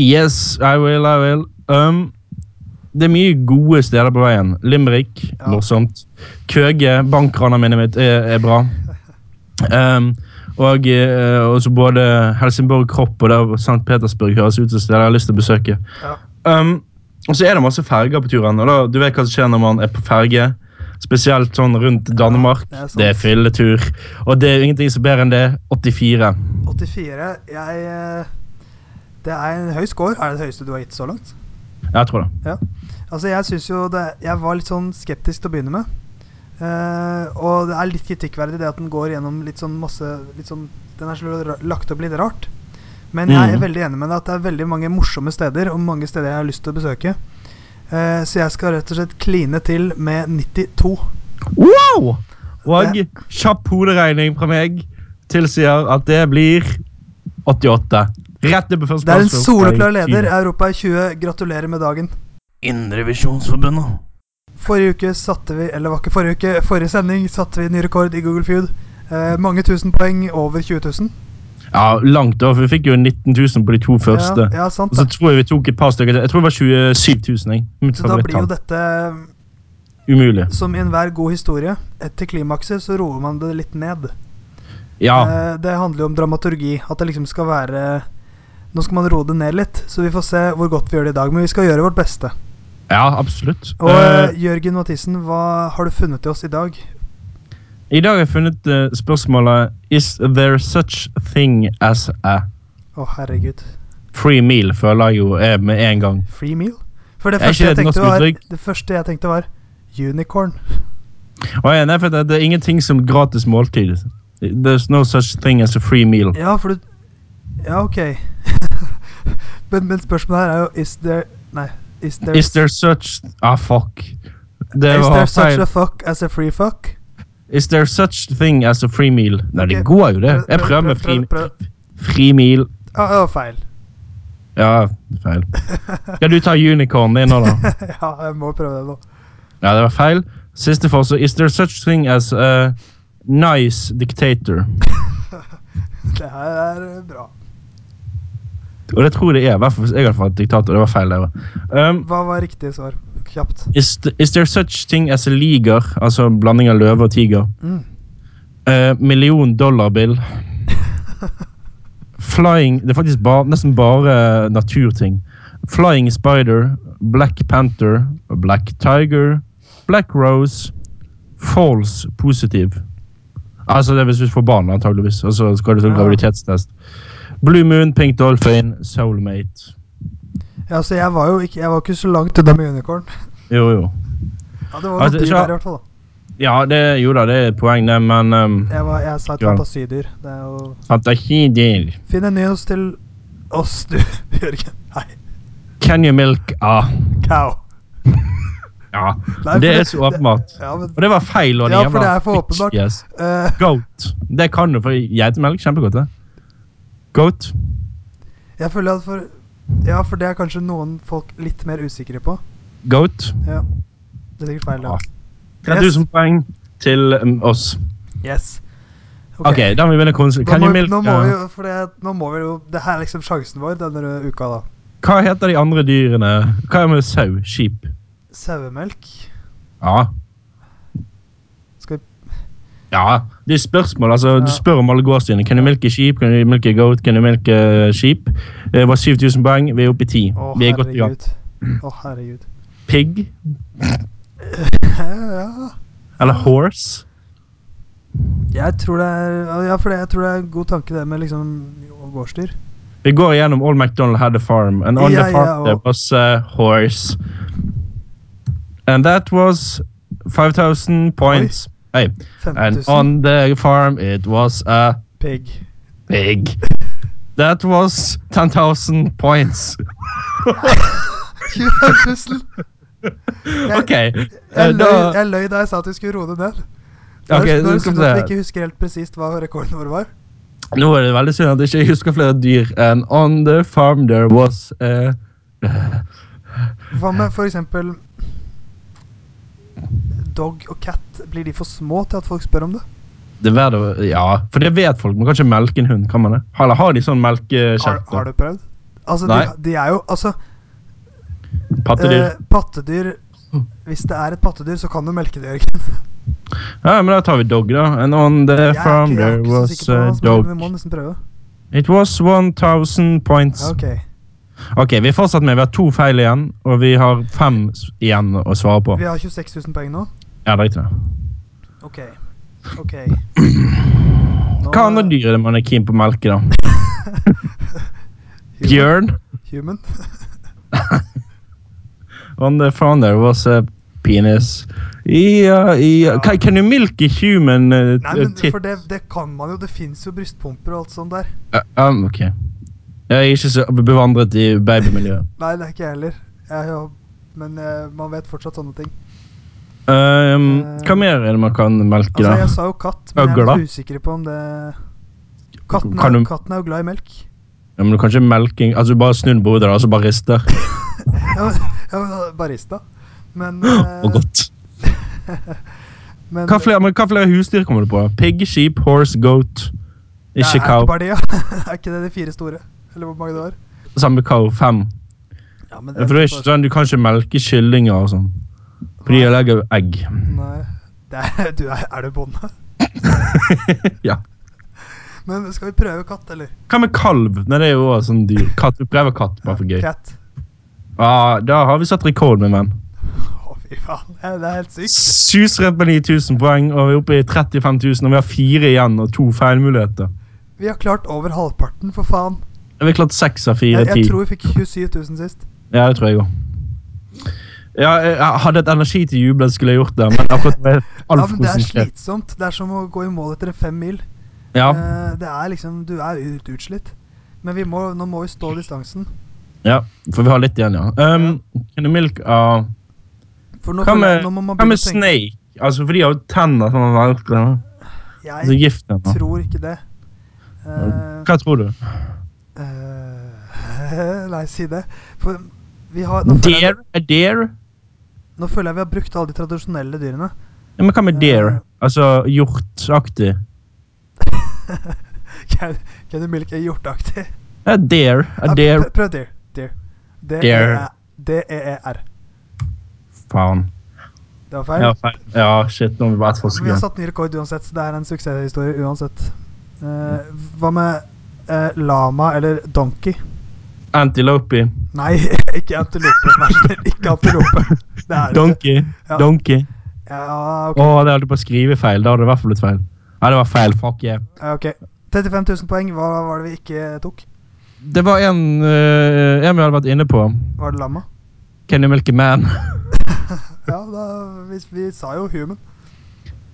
Speaker 2: Yes, I will, I will. Um, det er mye gode steder på veien. Limerick,
Speaker 1: Ja.
Speaker 2: morsomt. Køge, bankranet mitt er, er bra. Um, og eh, også både Helsingborg Kropp og der St. Petersburg høres ut som steder jeg har lyst til å besøke.
Speaker 1: Ja.
Speaker 2: Um, og så er det masse ferger på turen. Og da, du vet hva som skjer når man er på ferge. Spesielt sånn rundt Danmark.
Speaker 1: det er sant.
Speaker 2: det er fylletur. Og det er ingenting som er bedre enn det. 84.
Speaker 1: 84. Jeg eh, Det er en høy score. Er det det høyeste du har gitt så langt?
Speaker 2: Jeg tror det.
Speaker 1: Altså, jeg synes jo det Jeg var litt sånn skeptisk til å begynne med. Eh, og det er litt kritikkverdig det at den går gjennom litt sånn masse litt sånn, Den er så ra- lagt opp litt rart. Men jeg er
Speaker 2: Mhm.
Speaker 1: veldig enig med deg at det er veldig mange morsomme steder og mange steder jeg har lyst til å besøke. Eh, så jeg skal rett og slett kline til med 92.
Speaker 2: Wow! Og kjapp hoderegning fra meg tilsier at det blir 88. Rett ned på første
Speaker 1: Det er en
Speaker 2: plass.
Speaker 1: soleklar leder. Europa i 20. Gratulerer med dagen.
Speaker 3: Indrevisjonsforbundet.
Speaker 1: Forrige uke satte vi Eller var ikke forrige uke, forrige sending satte vi ny rekord i Google Feud. Eh, mange tusen poeng over 20 000.
Speaker 2: Ja, langt over. for Vi fikk jo 19 000 på de to første.
Speaker 1: Ja, ja, sant
Speaker 2: Og så
Speaker 1: det.
Speaker 2: tror jeg vi tok et par stykker til. Jeg tror det var 27 000. Jeg. Mitt
Speaker 1: Så da blir jo
Speaker 2: favorittall.
Speaker 1: dette,
Speaker 2: Umulig.
Speaker 1: som i enhver god historie, etter klimakset så roer man det litt ned.
Speaker 2: Ja.
Speaker 1: Eh, det handler jo om dramaturgi. At det liksom skal være Nå skal man roe det ned litt, så vi får se hvor godt vi gjør det i dag. Men vi skal gjøre vårt beste.
Speaker 2: ja, absolutt.
Speaker 1: Og
Speaker 2: Eh,
Speaker 1: eh, Jørgen Mathisen, hva har du funnet til oss i dag?
Speaker 2: I dag har jeg funnet eh, spørsmålet Is there such thing as a
Speaker 1: Å, herregud.
Speaker 2: free meal? Føler jeg jo er med en gang.
Speaker 1: Free meal? For det
Speaker 2: Er ikke
Speaker 1: første, jeg
Speaker 2: det et
Speaker 1: tenkte
Speaker 2: norsk
Speaker 1: var,
Speaker 2: uttrykk?
Speaker 1: det første jeg tenkte, var unicorn.
Speaker 2: Og jeg, nei, for det, det er ingenting som gratis måltid. There's no such thing as a free meal.
Speaker 1: Ja, for du Ja, ok. men, men spørsmålet her er jo Is there Nei. Is there,
Speaker 2: Is there such Ah, fuck. Det
Speaker 1: is
Speaker 2: var
Speaker 1: there such
Speaker 2: feil.
Speaker 1: a fuck as a free fuck?
Speaker 2: Is there such thing as a free meal? Nei, det
Speaker 1: Ok,
Speaker 2: går jo, det.
Speaker 1: prøv-
Speaker 2: Jeg
Speaker 1: prøv-
Speaker 2: prøver med
Speaker 1: prøv-
Speaker 2: fri,
Speaker 1: prøv-
Speaker 2: fri meal.
Speaker 1: Ja, det var feil.
Speaker 2: Ja, feil. Ja, du tar unicorn din nå, da.
Speaker 1: ja, jeg må prøve det nå.
Speaker 2: Ja, det var feil. Siste forsøk. Is there such thing as a nice dictator?
Speaker 1: Det her er eh, bra.
Speaker 2: Og det tror jeg det er, i hvert fall hvis jeg hadde fått diktator. Det var feil, det òg. Um,
Speaker 1: Hva var riktig svar? Kjapt.
Speaker 2: is, th- is there such thing as a liger? Altså en blanding av løve og tiger.
Speaker 1: Mm.
Speaker 2: Eh, million dollar bill. Flying Det er faktisk ba, nesten bare naturting. Flying spider, black panther, black tiger, black rose, false positive. Altså det er hvis du får barn, antageligvis. Og så skal du til
Speaker 1: Ja.
Speaker 2: graviditetstest. Blue moon, pink dolphin, soulmate.
Speaker 1: Ja, altså, jeg var jo ikke, jeg var ikke så langt unna med unicorn.
Speaker 2: Jo, jo.
Speaker 1: Ja, Det var
Speaker 2: Altså,
Speaker 1: noe dyr
Speaker 2: så-
Speaker 1: der, i hvert fall. da.
Speaker 2: Ja, det, jo da, det er et poeng, det, men um,
Speaker 1: Jeg, var, jeg sa et
Speaker 2: Ja.
Speaker 1: fantasidyr. Det er jo
Speaker 2: Fantasidyr.
Speaker 1: Finn en nyhet til oss, du, Jørgen. Hei.
Speaker 2: Can you milk? Ah,
Speaker 1: Cow.
Speaker 2: ja.
Speaker 1: Nei,
Speaker 2: det
Speaker 1: for
Speaker 2: er så åpenbart.
Speaker 1: Ja, men,
Speaker 2: Og det var feil. Og
Speaker 1: Ja,
Speaker 2: jævla
Speaker 1: for det er for
Speaker 2: fish,
Speaker 1: åpenbart.
Speaker 2: Yes.
Speaker 1: eh,
Speaker 2: Goat. Det kan du, for geitemelk kjempegodt. det. Goat.
Speaker 1: jeg føler at for Ja, for det er kanskje noen folk litt mer usikre på.
Speaker 2: Goat.
Speaker 1: Ja. Det er sikkert feil.
Speaker 2: Ah,
Speaker 1: det.
Speaker 2: 3000 poeng til um, oss.
Speaker 1: Yes.
Speaker 2: OK, da må vi begynne konsert.
Speaker 1: Nå
Speaker 2: Can
Speaker 1: må,
Speaker 2: you milk?
Speaker 1: nå, må
Speaker 2: eh,
Speaker 1: vi, jo- for det, nå må vi jo Det her er liksom sjansen vår denne uka, da.
Speaker 2: Hva heter de andre dyrene? Hva er med sau? Skip?
Speaker 1: Sauemelk.
Speaker 2: Ja.
Speaker 1: Skal vi
Speaker 2: ja. Det er spørsmål. altså.
Speaker 1: Ja.
Speaker 2: Du spør om alle gårdsdyrene. Kan du milke skip? Kan du milke goat? Kan du milke skip? Eh, Det var 7000 poeng. Vi er oppe i 10.
Speaker 1: Å,
Speaker 2: vi er godt i gang.
Speaker 1: herregud. Å, herregud.
Speaker 2: Pig?
Speaker 1: Ja.
Speaker 2: Eller horse?
Speaker 1: Jeg tror det er Ja, for det, jeg tror det er en god tanke, det med liksom gårdsdyr.
Speaker 2: Vi går igjennom All MacDonald Had a Farm, and on
Speaker 1: Ja,
Speaker 2: the
Speaker 1: ja,
Speaker 2: farm
Speaker 1: og-
Speaker 2: there was a horse. And that was 5000 points. Hey. And
Speaker 1: 5000
Speaker 2: on the farm it was a
Speaker 1: pigg.
Speaker 2: pig. That was 10,000 points.
Speaker 1: 25 000! Jeg-
Speaker 2: OK. eh,
Speaker 1: Jeg, løy,
Speaker 2: da,
Speaker 1: jeg løy da jeg sa at vi skulle roe det ned.
Speaker 2: Ok,
Speaker 1: Okay,
Speaker 2: nå
Speaker 1: Når
Speaker 2: skal
Speaker 1: du
Speaker 2: vi
Speaker 1: at vi
Speaker 2: se.
Speaker 1: ikke husker helt presist hva rekorden vår var?
Speaker 2: nå er det veldig synd at jeg ikke husker flere dyr. And on the farm there was eh, a
Speaker 1: Hva med for eksempel Dog og cat, blir de for små til at folk spør om det?
Speaker 2: det var det, Ja, for det vet folk. Man kan ikke melke en hund, kan man det? Eller har de sånn
Speaker 1: Har, har
Speaker 2: melkekjefter?
Speaker 1: du prøvd? Altså, de,
Speaker 2: Nei.
Speaker 1: de er jo Altså,
Speaker 2: Pattedyr?
Speaker 1: eh, pattedyr Hvis det er et pattedyr, så kan du melke det, Jørgen.
Speaker 2: Ja, men da tar vi dog, da. And on the
Speaker 1: Jeg er
Speaker 2: farm
Speaker 1: ikke, jeg er
Speaker 2: there
Speaker 1: ikke så
Speaker 2: was
Speaker 1: sikker på hva
Speaker 2: a
Speaker 1: som skjer,
Speaker 2: dog.
Speaker 1: men vi må nesten prøve.
Speaker 2: It was 1000 points.
Speaker 1: Ja, ok.
Speaker 2: Ok, vi fortsetter med. Vi har to feil igjen, og vi har fem s- igjen å svare på.
Speaker 1: Vi har 26 000 poeng nå.
Speaker 2: Ja, det er riktig.
Speaker 1: Ok. Ok. Nå,
Speaker 2: Hva andre dyr er det man er keen på å melke, da?
Speaker 1: Human.
Speaker 2: Bjørn?
Speaker 1: Human.
Speaker 2: On the farm there was a penis. Ja, ja. Ka- Can you milk a human uh,
Speaker 1: Nei, men
Speaker 2: tit?
Speaker 1: for det, det kan man jo. Det fins jo brystpumper og alt sånt der.
Speaker 2: Ja, um, ok. Jeg er ikke så bevandret i babymiljøet.
Speaker 1: Nei, det er ikke jeg heller. Jeg, har- men eh, man vet fortsatt sånne ting.
Speaker 2: Um,
Speaker 1: Eh,
Speaker 2: hva mer er det man kan melke,
Speaker 1: Altså,
Speaker 2: da?
Speaker 1: jeg sa jo katt, men jeg
Speaker 2: Øgler,
Speaker 1: er
Speaker 2: da?
Speaker 1: litt usikker på om det katten
Speaker 2: Kan
Speaker 1: er,
Speaker 2: du-
Speaker 1: katten er jo glad i melk.
Speaker 2: Ja, men du kan ikke melke Altså, bare snu den på hodet, da, og så bare rister.
Speaker 1: Ja, men- ja, men eh, barista. Men, eh,
Speaker 2: Og godt.
Speaker 1: men
Speaker 2: Hva flere, men hva flere husdyr kommer du på? Pig, sheep, horse, goat.
Speaker 1: eh, Nei,
Speaker 2: Ikke
Speaker 1: er
Speaker 2: cow.
Speaker 1: bare det, ja. er ikke det de fire store? Eller hvor mange det var?
Speaker 2: Samme cow, fem.
Speaker 1: Ja, men
Speaker 2: For det er ikke sånn, Du kan ikke melke kyllinger og sånn. For de legger jo egg.
Speaker 1: Nei. Det er, du er, er du bonde?
Speaker 2: Ja.
Speaker 1: Men skal vi prøve katt, eller?
Speaker 2: Hva med kalv? Nei, det er jo også sånn dyr. Katt, Vi prøver katt, bare for gøy.
Speaker 1: Cat.
Speaker 2: Ah, da har vi satt rekord, min venn.
Speaker 1: Å, fy faen. Ja, Det er helt sykt.
Speaker 2: Suser på 9000 poeng, og vi er oppe i 35 000, og vi har fire igjen og to feilmuligheter.
Speaker 1: Vi har klart over halvparten, for faen.
Speaker 2: Vi har klart seks av
Speaker 1: Jeg,
Speaker 2: fire.
Speaker 1: jeg
Speaker 2: ti.
Speaker 1: tror vi fikk 27 000 sist.
Speaker 2: Ja, det tror jeg òg. Ja, jeg jeg hadde et energi til å juble, skulle jeg gjort det, men akkurat det er
Speaker 1: Ja,
Speaker 2: altfor
Speaker 1: men det er
Speaker 2: konsentrert.
Speaker 1: slitsomt. Det er som å gå i mål etter en fem mil.
Speaker 2: Ja,
Speaker 1: Eh, Det er liksom Du er ut, utslitt. Men vi må, nå må vi stå distansen.
Speaker 2: ja, for vi har litt igjen, ja. Um, Can you milk uh,
Speaker 1: For nå,
Speaker 2: Hva
Speaker 1: føler jeg-
Speaker 2: med,
Speaker 1: nå må man
Speaker 2: hva
Speaker 1: begynne
Speaker 2: med
Speaker 1: å tenke.
Speaker 2: snake? Altså, for de har jo tenner som er vanskelig. da. Altså,
Speaker 1: Jeg
Speaker 2: gift den, da.
Speaker 1: tror ikke det. Eh,
Speaker 2: Hva tror du?
Speaker 1: eh, nei, si det. For vi har nå føler, jeg,
Speaker 2: Deer? A deer?
Speaker 1: nå føler jeg vi har brukt alle de tradisjonelle dyrene.
Speaker 2: Ja, men hva med
Speaker 1: Eh.
Speaker 2: deer? Altså hjortaktig?
Speaker 1: Can, can you milk a hjorteaktig?
Speaker 2: Ja, deer. A
Speaker 1: Ja,
Speaker 2: deer.
Speaker 1: pr- Prøv deer. Deer.
Speaker 2: Deer.
Speaker 1: E D-e-e-r.
Speaker 2: Faen.
Speaker 1: Det var feil.
Speaker 2: Ja, feil. Ja, shit, nå må vi bare et
Speaker 1: Vi har
Speaker 2: forskudd.
Speaker 1: satt ny rekord uansett, så det er en suksesshistorie uansett. Eh, hva med eh, lama eller donkey?
Speaker 2: Antilope.
Speaker 1: Nei, ikke antilope. Vær så snill, ikke antilope. Det er det ikke.
Speaker 2: Donkey.
Speaker 1: Ja.
Speaker 2: Donkey.
Speaker 1: Ja,
Speaker 2: Å,
Speaker 1: ok.
Speaker 2: det hadde du bare skrevet feil. Da hadde det i hvert fall blitt feil. Ja, det var feil. Fuck yeah.
Speaker 1: Ja, ok. 35 000 poeng, hva var det vi ikke tok?
Speaker 2: Det var en, eh, en vi hadde vært inne på.
Speaker 1: Var det lama?
Speaker 2: Can you milk a man?
Speaker 1: Ja, da, vi, vi sa jo human.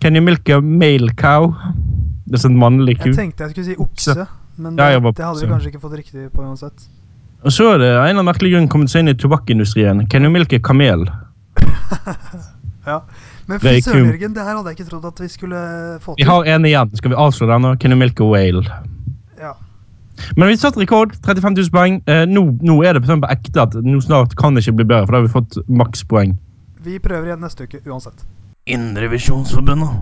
Speaker 2: Can you milk a male cow? Det er sånn mannlig ku.
Speaker 1: Jeg tenkte jeg skulle si okse, men
Speaker 2: Ja, jeg
Speaker 1: det,
Speaker 2: var
Speaker 1: det hadde
Speaker 2: okse.
Speaker 1: vi kanskje ikke fått riktig på uansett.
Speaker 2: Og så er det av en eller annen merkelig grunn kommet seg inn i tobakkindustrien. Can you milk a kamel?
Speaker 1: Men
Speaker 2: Det
Speaker 1: fy
Speaker 2: er ikke-
Speaker 1: søren, Jørgen, det her hadde jeg ikke trodd at vi skulle få
Speaker 2: Vi
Speaker 1: til.
Speaker 2: har en igjen. Skal vi avslå den nå? Can you milk a whale?
Speaker 1: Ja.
Speaker 2: Men vi satte rekord. 35 000 poeng. Eh, nå, nå er det på, sånn på ekte at nå snart kan det ikke bli bedre, for da har vi fått makspoeng.
Speaker 1: Vi prøver igjen neste uke uansett.
Speaker 3: Indrevisjonsforbundet.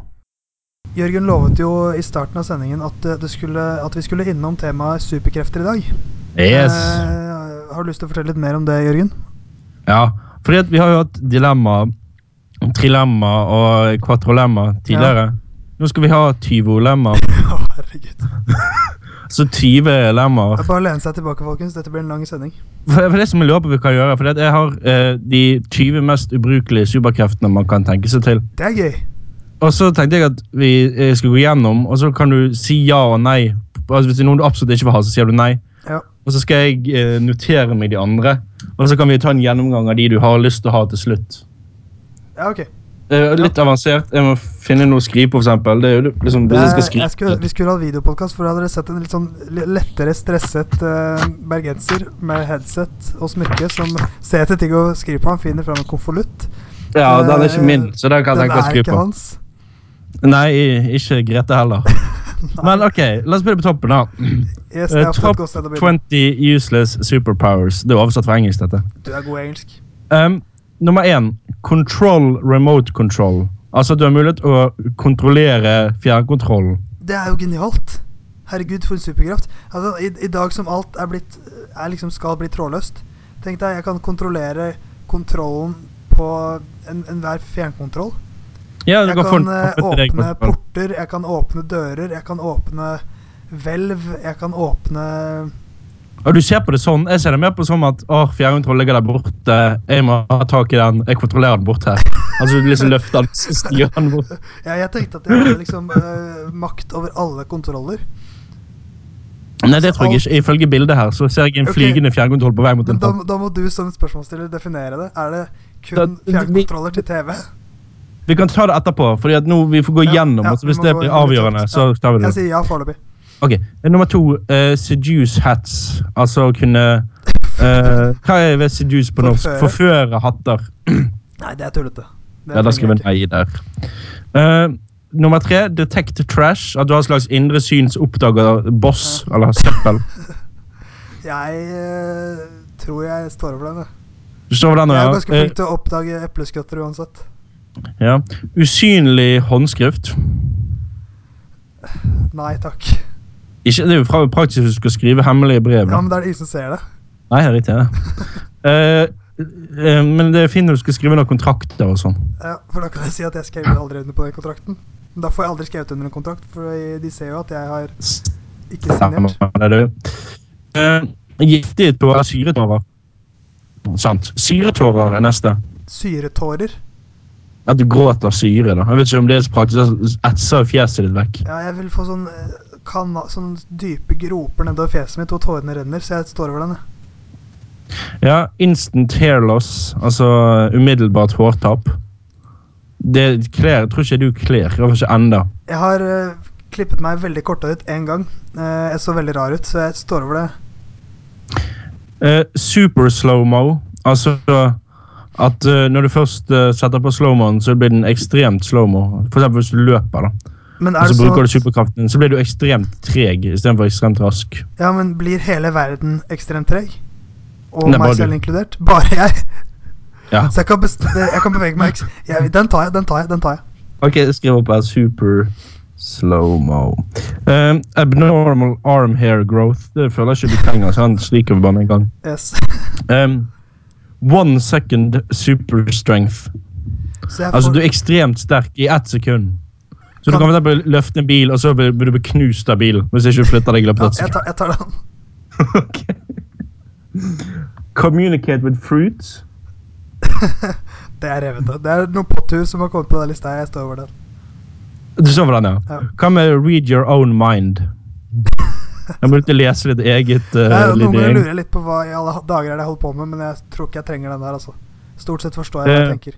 Speaker 1: Jørgen lovet jo i starten av sendingen at, eh, det skulle, at vi skulle innom temaet superkrefter i dag.
Speaker 2: Yes.
Speaker 1: Eh, har du lyst til å fortelle litt mer om det, Jørgen?
Speaker 2: Ja, fordi at vi har jo hatt dilemma, trilemma og quattrolemma tidligere. Nå skal vi ha tyvolemma.
Speaker 1: Å, herregud. Det
Speaker 2: Så 20 lemmaer.
Speaker 1: er Bare å lene seg tilbake, folkens. Dette blir en lang sending.
Speaker 2: For for det som jeg lurer på vi kan gjøre, for det at jeg har eh, de 20 mest ubrukelige superkreftene man kan tenke seg til.
Speaker 1: Det er gøy.
Speaker 2: Og så tenkte jeg at vi eh, skulle gå gjennom, og så kan du si ja og nei. Altså Hvis det er noen du absolutt ikke vil ha, så sier du nei.
Speaker 1: Ja.
Speaker 2: Og så skal jeg eh, notere meg de andre, og så kan vi ta en gjennomgang av de du har lyst til å ha til slutt.
Speaker 1: Ja, ok.
Speaker 2: Eh, litt avansert. Jeg må finne noe å skrive på, for eksempel. Det er jo det- liksom, hvis jeg skal
Speaker 1: Eh,
Speaker 2: skrive
Speaker 1: jeg skulle, vi skulle hatt videopodkast, for da hadde dere sett en litt sånn li- lettere stresset eh, bergenser med headset og smykke som ser etter ting å skrive på. Han finner fram en konvolutt.
Speaker 2: Ja, den er
Speaker 1: eh,
Speaker 2: ikke min, så den kan jeg
Speaker 1: Den
Speaker 2: ikke
Speaker 1: er
Speaker 2: skrive
Speaker 1: ikke
Speaker 2: på.
Speaker 1: hans.
Speaker 2: Nei, i- ikke Grete heller. Men OK, la oss begynne på toppen, da.
Speaker 1: Yes, det
Speaker 2: Eh,
Speaker 1: er ofte
Speaker 2: topp
Speaker 1: et godt sted å begynne.
Speaker 2: 20 useless superpowers. Det er oversatt fra engelsk, dette.
Speaker 1: Du er god i engelsk.
Speaker 2: Um, nummer én control remote control. Altså at du har mulighet å kontrollere fjernkontrollen.
Speaker 1: Det er jo genialt. Herregud, for en superkraft. Altså, i, I dag som alt er blidt er liksom skal bli trådløst. Tenk deg, jeg kan kontrollere kontrollen på en- enhver fjernkontroll.
Speaker 2: Ja, du
Speaker 1: Jeg
Speaker 2: kan få
Speaker 1: kan
Speaker 2: den
Speaker 1: eh,
Speaker 2: opp til deg,
Speaker 1: åpne
Speaker 2: kontroll.
Speaker 1: porter, jeg kan åpne dører, jeg kan åpne hvelv, jeg kan åpne
Speaker 2: Og du ser på det sånn, Jeg ser det mer på som at å, fjernkontrollen ligger der borte, jeg må ha tak i den, jeg kontrollerer den bort her. Altså du liksom løfter den, så styrer den bort.
Speaker 1: Ja, jeg tenkte at jeg hadde liksom eh, makt over alle kontroller.
Speaker 2: Nei, det tror jeg ikke. Ifølge bildet her så ser jeg en
Speaker 1: Ok.
Speaker 2: flygende fjernkontroll på vei mot
Speaker 1: Men
Speaker 2: en
Speaker 1: da,
Speaker 2: topp.
Speaker 1: da må du som spørsmålsstiller definere det. Er det
Speaker 2: Da-
Speaker 1: kun
Speaker 2: vi-
Speaker 1: fjernkontroller til TV?
Speaker 2: Vi kan ta det etterpå, fordi at nå vi får gå
Speaker 1: Ja,
Speaker 2: gjennom.
Speaker 1: ja,
Speaker 2: altså
Speaker 1: vi
Speaker 2: Hvis
Speaker 1: må
Speaker 2: det
Speaker 1: gå
Speaker 2: blir
Speaker 1: gjennom det
Speaker 2: avgjørende,
Speaker 1: kjapt.
Speaker 2: så tar vi det.
Speaker 1: Jeg sier ja foreløpig.
Speaker 2: Ok, eh, Nummer to, eh, seduce hats. Altså å kunne eh, Hva er ved seduce på norsk?
Speaker 1: Forføre.
Speaker 2: Forføre hatter.
Speaker 1: Nei, det er tullete. Det
Speaker 2: Ja, da
Speaker 1: trenger
Speaker 2: skriver
Speaker 1: jeg
Speaker 2: jeg
Speaker 1: ikke.
Speaker 2: nei der. Eh, nummer tre, detect trash. At du har et slags indre syn som oppdager boss eller søppel.
Speaker 1: Jeg eh, tror jeg står over den. jeg.
Speaker 2: Du står over den
Speaker 1: Jeg er
Speaker 2: nå,
Speaker 1: ganske
Speaker 2: ja.
Speaker 1: flink til å oppdage epleskøtter uansett.
Speaker 2: Eh, ja. Usynlig håndskrift.
Speaker 1: Nei takk.
Speaker 2: Ikke, det er jo fra praktisk hvis du skal skrive hemmelige brev.
Speaker 1: Ja,
Speaker 2: Da.
Speaker 1: men det er det ingen som ser det.
Speaker 2: Nei, det er riktig. det. Eh, eh, men det er fint når du skal skrive noen kontrakter og sånn.
Speaker 1: Ja, for da kan jeg si at jeg skrev aldri under på den kontrakten. Men Da får jeg aldri skrevet under en kontrakt, for de ser jo at jeg har ikke signert.
Speaker 2: Stemmer det, du. Eh, Giftige tårer, syretårer. Sant. Syretårer er neste.
Speaker 1: Syretårer.
Speaker 2: At du gråter syre. da. Jeg vet ikke om det er så praktisk. det Etser fjeset ditt vekk.
Speaker 1: Ja, jeg vil få sånn, eh, kana, sånn dype groper nedover fjeset mitt, og tårene renner, så jeg står over den. jeg.
Speaker 2: Ja, Instant hair loss, altså umiddelbart hårtap. Det kler Jeg tror ikke du kler. I hvert fall ikke ennå.
Speaker 1: Jeg har eh, klippet meg veldig korthåret én gang. Eh, jeg så veldig rar ut, så jeg står over det.
Speaker 2: Eh, super slow-mo, altså at eh, når du først eh, setter på slow-moen, så blir den ekstremt slow-mo. For eksempel hvis du løper, da.
Speaker 1: Men
Speaker 2: Og
Speaker 1: er
Speaker 2: så
Speaker 1: det
Speaker 2: bruker
Speaker 1: sånn
Speaker 2: du superkraften din, så blir du ekstremt treg istedenfor ekstremt rask.
Speaker 1: Ja, men blir hele verden ekstremt treg? Og
Speaker 2: Nei,
Speaker 1: meg
Speaker 2: bare du.
Speaker 1: selv inkludert? Bare jeg?
Speaker 2: Ja.
Speaker 1: Så jeg kan, best jeg kan bevege meg eks- jeg, Den tar jeg, den tar jeg. den tar jeg.
Speaker 2: Ok, jeg skriver opp her super slow-mo. Eh, abnormal arm hair growth. Det føler jeg ikke du trenger, så han stryker vi bare med en gang.
Speaker 1: Yes.
Speaker 2: Em, one second super strength.
Speaker 1: Så jeg
Speaker 2: Altså,
Speaker 1: får-
Speaker 2: du er ekstremt sterk i ett sekund. Så du
Speaker 1: Kan-
Speaker 2: kan for eksempel løfte en bil, og så blir blir du knust av bilen. Hvis ikke du flytter deg i løpet
Speaker 1: ja,
Speaker 2: av et
Speaker 1: jeg,
Speaker 2: sekund.
Speaker 1: tar, jeg tar den.
Speaker 2: Ok. Communicate with fruits.
Speaker 1: Det er revete. Det er noen pottur som har kommet på den lista. her, Jeg står over den.
Speaker 2: Du så hvordan,
Speaker 1: Ja.
Speaker 2: ja. Hva med read your own mind? Jeg må ut og lese litt eget. eh,
Speaker 1: Jeg,
Speaker 2: litt
Speaker 1: noen ganger
Speaker 2: egen-
Speaker 1: lurer jeg litt på hva i alle dager er det jeg holder på med, men jeg tror ikke jeg trenger den der, altså. Stort sett forstår jeg hva jeg
Speaker 2: Eh.
Speaker 1: tenker.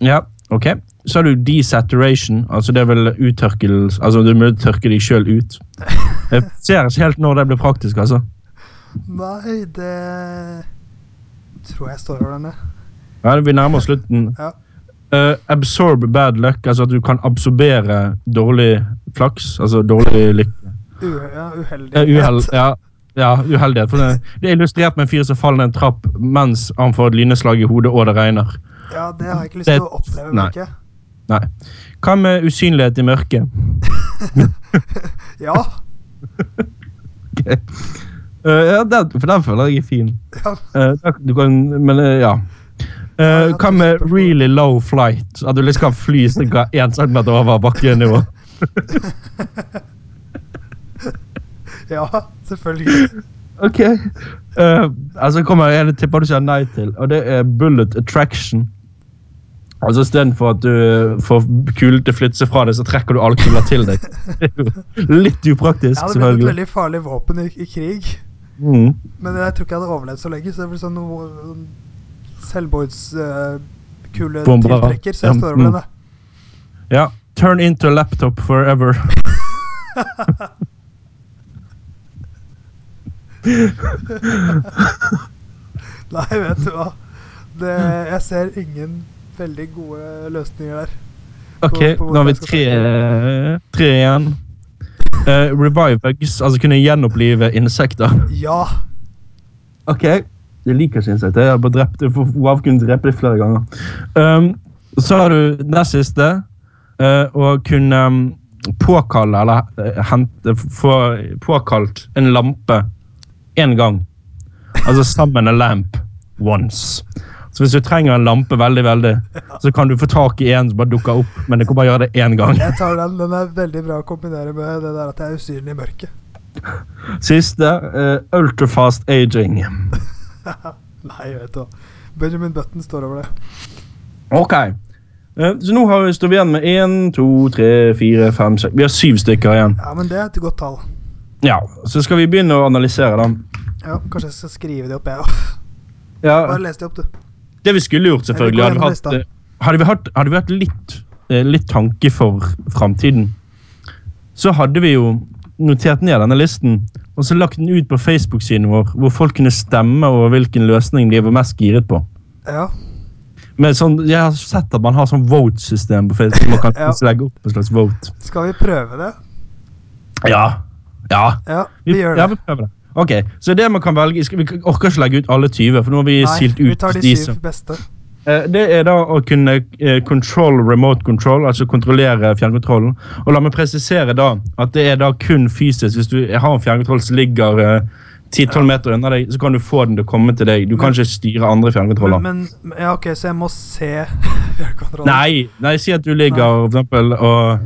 Speaker 2: Ja. Ok, Så har du desaturation, altså det er vel uttørkelse Altså du må tørke deg sjøl ut. Jeg ser ikke helt når det blir praktisk, altså.
Speaker 1: Nei, det tror jeg står over den, jeg.
Speaker 2: Ja, Vi nærmer oss slutten.
Speaker 1: Ja.
Speaker 2: Eh, absorb bad luck, altså at du kan absorbere dårlig flaks, altså dårlig lykke.
Speaker 1: U- ja, uheldig.
Speaker 2: Eh, Uhell, ja. Ja, uheldighet. For det, det er illustrert med en fyr som faller ned en trapp mens han får et lyneslag i hodet og det regner.
Speaker 1: Ja, det har jeg ikke lyst
Speaker 2: Det-
Speaker 1: til å oppleve.
Speaker 2: nei.
Speaker 1: Ikke?
Speaker 2: Nei. Hva med usynlighet i mørket?
Speaker 1: Ja,
Speaker 2: Eh, ja, den, for den føler jeg er fin.
Speaker 1: Ja.
Speaker 2: Eh, da- du kan, men eh, ja. Eh,
Speaker 1: Ja,
Speaker 2: hva med really low flight? At du liksom kan fly ca. 1 cm over bakkenivå?
Speaker 1: ja, selvfølgelig.
Speaker 2: Ok. Eh, altså kommer jeg en tipper du sier nei til, og det er bullet attraction. Altså Istedenfor at du eh, får kulen til å flytte seg fra deg, så trekker du alle kuler til deg. Det er jo Litt upraktisk,
Speaker 1: Jeg hadde blitt et
Speaker 2: selvfølgelig.
Speaker 1: veldig farlig våpen i, i krig.
Speaker 2: Mm.
Speaker 1: Men jeg tror ikke jeg hadde overlevd så lenge, så det blir sånn noe selvmordskule
Speaker 2: Bomber.
Speaker 1: tiltrekker, så jeg står over
Speaker 2: Mm.
Speaker 1: den, jeg.
Speaker 2: Ja. Turn into a laptop forever.
Speaker 1: Nei, vet du hva. Det, jeg ser ingen veldig gode løsninger der.
Speaker 2: Ok, nå har vi tre, tre igjen. Eh, revive bugs, altså kunne gjenopplive insekter.
Speaker 1: Ja,
Speaker 2: Ok, jeg liker ikke insekter. Jeg har bare drept jeg får- Wow kunne drepe det flere ganger. Um, så har du nest siste. eh, å kunne um, påkalle, eller eh, hente, få påkalt en lampe én gang. Altså sammen a lamp once. Så hvis du trenger en lampe veldig, veldig, så kan du få tak i en som bare dukker opp, men du kan bare gjøre det én gang.
Speaker 1: jeg tar den. Den er veldig bra å kombinere med det der at jeg er usynlig i mørket.
Speaker 2: Siste. eh, ultrafast aging.
Speaker 1: Nei, vet du hva. Benjamin Button står over det.
Speaker 2: Ok. Eh, Så nå har vi står vi igjen med én, to, tre, fire, fem, seks Vi har syv stykker igjen.
Speaker 1: Ja, men det er et godt tall.
Speaker 2: Ja, Så skal vi begynne å analysere dem.
Speaker 1: Ja, Kanskje jeg skal skrive det opp, jeg òg.
Speaker 2: Ja,
Speaker 1: Bare les det opp, du.
Speaker 2: Det vi skulle gjort, selvfølgelig
Speaker 1: Eller
Speaker 2: Hadde
Speaker 1: gå
Speaker 2: vi
Speaker 1: gjennom
Speaker 2: hatt, eh, hadde vi hatt, hadde vi hatt litt, eh, litt tanke for framtiden, så hadde vi jo notert ned denne listen og så lagt den ut på Facebook-siden vår, hvor folk kunne stemme over hvilken løsning de var mest giret på.
Speaker 1: Ja.
Speaker 2: Men sånn, Jeg har sett at man har sånn vote-system på Facebook. Man kan
Speaker 1: Ja.
Speaker 2: legge opp en slags vote.
Speaker 1: Skal vi prøve det?
Speaker 2: Ja. Ja.
Speaker 1: Ja, vi gjør
Speaker 2: Ja,
Speaker 1: det.
Speaker 2: vi prøver det. Ok, så det man kan velge skal- Vi orker ikke legge ut alle 20, for nå har vi
Speaker 1: Nei,
Speaker 2: silt ut
Speaker 1: vi tar de syv
Speaker 2: som-
Speaker 1: beste.
Speaker 2: Eh, Det er da å kunne eh, control remote control, altså kontrollere fjernkontrollen. Og la meg presisere da at det er da kun fysisk. Hvis du har en fjernkontroll som ligger eh, 10-12 meter unna deg, så kan du få den til å komme til deg. Du kan ikke styre andre fjernkontroller.
Speaker 1: Men, men ja, OK, så jeg må se fjernkontrollen?
Speaker 2: Nei, nei, si at du ligger for eksempel og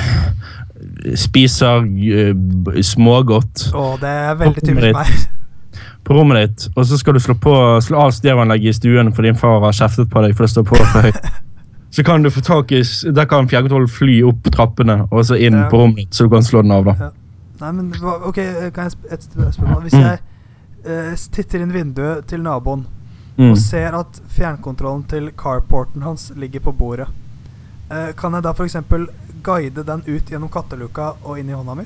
Speaker 2: eh, spiser eh, b- smågodt.
Speaker 1: Å, det er veldig typisk meg.
Speaker 2: på rommet ditt, og så skal du slå, på, slå av stereoanlegget i stuen for din far har kjeftet på deg for det står på for høyt. Så kan du få tak i s- Der kan fjernkontrollen fly opp trappene og så inn
Speaker 1: Ja.
Speaker 2: på rommet ditt, så du kan slå den av, da.
Speaker 1: Nei, men hva- OK, kan jeg sp et sp- spørsmål? Hvis jeg eh, s- titter inn vinduet til naboen
Speaker 2: Mm.
Speaker 1: og ser at fjernkontrollen til carporten hans ligger på bordet, eh, kan jeg da f.eks. guide den ut gjennom katteluka og inn i hånda mi?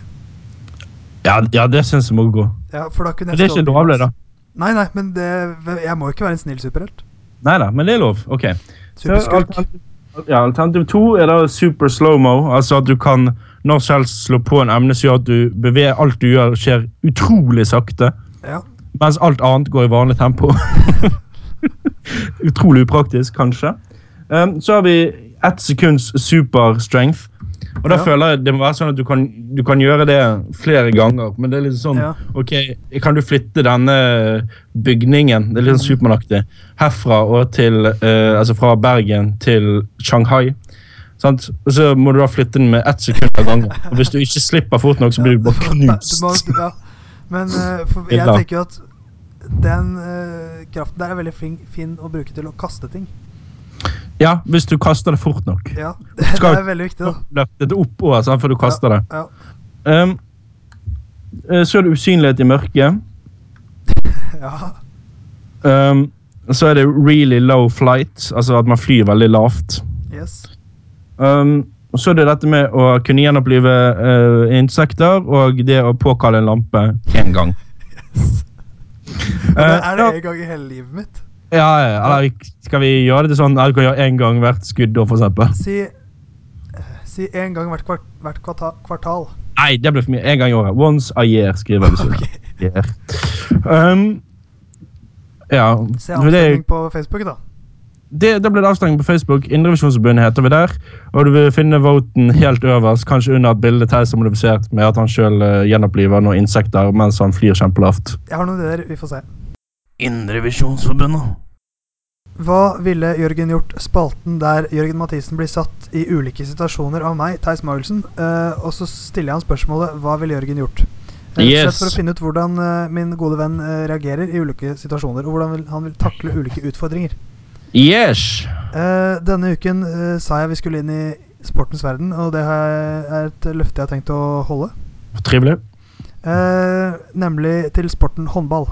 Speaker 2: Ja, ja, det syns jeg må gå.
Speaker 1: Ja, for da kunne
Speaker 2: Men
Speaker 1: jeg
Speaker 2: det er ikke
Speaker 1: stjålet
Speaker 2: lovlig,
Speaker 1: bilen
Speaker 2: da.
Speaker 1: hans. Nei, nei, men det, jeg må jo ikke være en snill superhelt.
Speaker 2: Nei da, men det er lov. Ok. Så
Speaker 1: Superskurk.
Speaker 2: alternativ- Ja, alternativ to er da super slow-mo, altså at du kan når som helst slå på en emne som gjør at du beveger alt du gjør, skjer utrolig sakte.
Speaker 1: Ja.
Speaker 2: Mens alt annet går i vanlig tempo. Utrolig upraktisk, kanskje. Ehm, så har vi ett sekunds super strength. Og da
Speaker 1: Ja.
Speaker 2: føler jeg det må være sånn at du kan, du kan gjøre det flere ganger. Men det er litt sånn
Speaker 1: Ja.
Speaker 2: OK, kan du flytte denne bygningen? Det er litt
Speaker 1: Mhm.
Speaker 2: sånn Supermann-aktig. Herfra og til eh, Altså fra Bergen til Shanghai. Sant? Og så må du da flytte den med ett sekund av gangen. Og hvis du ikke slipper fort nok, så blir du bare knust.
Speaker 1: Du må, ja. Men eh, for, jeg
Speaker 2: Illa.
Speaker 1: tenker jo at den eh, kraften der er veldig fin, fin å bruke til å kaste ting.
Speaker 2: Ja, hvis du kaster det fort nok.
Speaker 1: Ja, Det
Speaker 2: Skal-
Speaker 1: er veldig viktig, da.
Speaker 2: løftet det oppover sant, før du kaster det.
Speaker 1: Ja.
Speaker 2: Um, eh, så er det usynlighet i mørket.
Speaker 1: Ja.
Speaker 2: Um, så er det really low flight, altså at man flyr veldig lavt.
Speaker 1: Yes.
Speaker 2: Um, og så er det dette med å kunne gjenopplive eh, insekter og det å påkalle en lampe én gang.
Speaker 1: Men
Speaker 2: Eh,
Speaker 1: er det en gang i hele livet mitt?
Speaker 2: ja, ja, eller vi- skal vi gjøre det til sånn at du kan gjøre én gang hvert skuddår, for eksempel?
Speaker 1: Si eh, Si én gang hvert, kvart, hvert kvarta, kvartal.
Speaker 2: Nei, det ble for mye. Én gang i året. Once a year, skriver jeg.
Speaker 1: Ok.
Speaker 2: Okay. Yeah. Um, ja.
Speaker 1: Se
Speaker 2: for det er-
Speaker 1: avstemning på Facebook, da.
Speaker 2: det, da ble det avstemning på Facebook. Indrevisjonsforbundet heter vi der. Og du vil finne voten helt øverst, kanskje under et bilde Theis har modifisert med at han sjøl gjenoppliver noen insekter mens han flyr kjempelavt.
Speaker 1: Jeg har noen ideer. Vi får se.
Speaker 3: Indrevisjonsforbundet.
Speaker 1: Hva ville Jørgen gjort? Spalten der Jørgen Mathisen blir satt i ulike situasjoner av meg, Theis Magelsen, eh, og så stiller jeg han spørsmålet hva ville Jørgen gjort? Eh, rett og slett
Speaker 2: Yes.
Speaker 1: For å finne ut hvordan eh, min gode venn eh, reagerer i ulike situasjoner, og hvordan vil, han vil takle ulike utfordringer.
Speaker 2: Yes!
Speaker 1: Eh, denne uken eh, sa jeg vi skulle inn i sportens verden, og det har jeg, er et løfte jeg har tenkt å holde.
Speaker 2: Trivelig.
Speaker 1: Eh, nemlig til sporten håndball.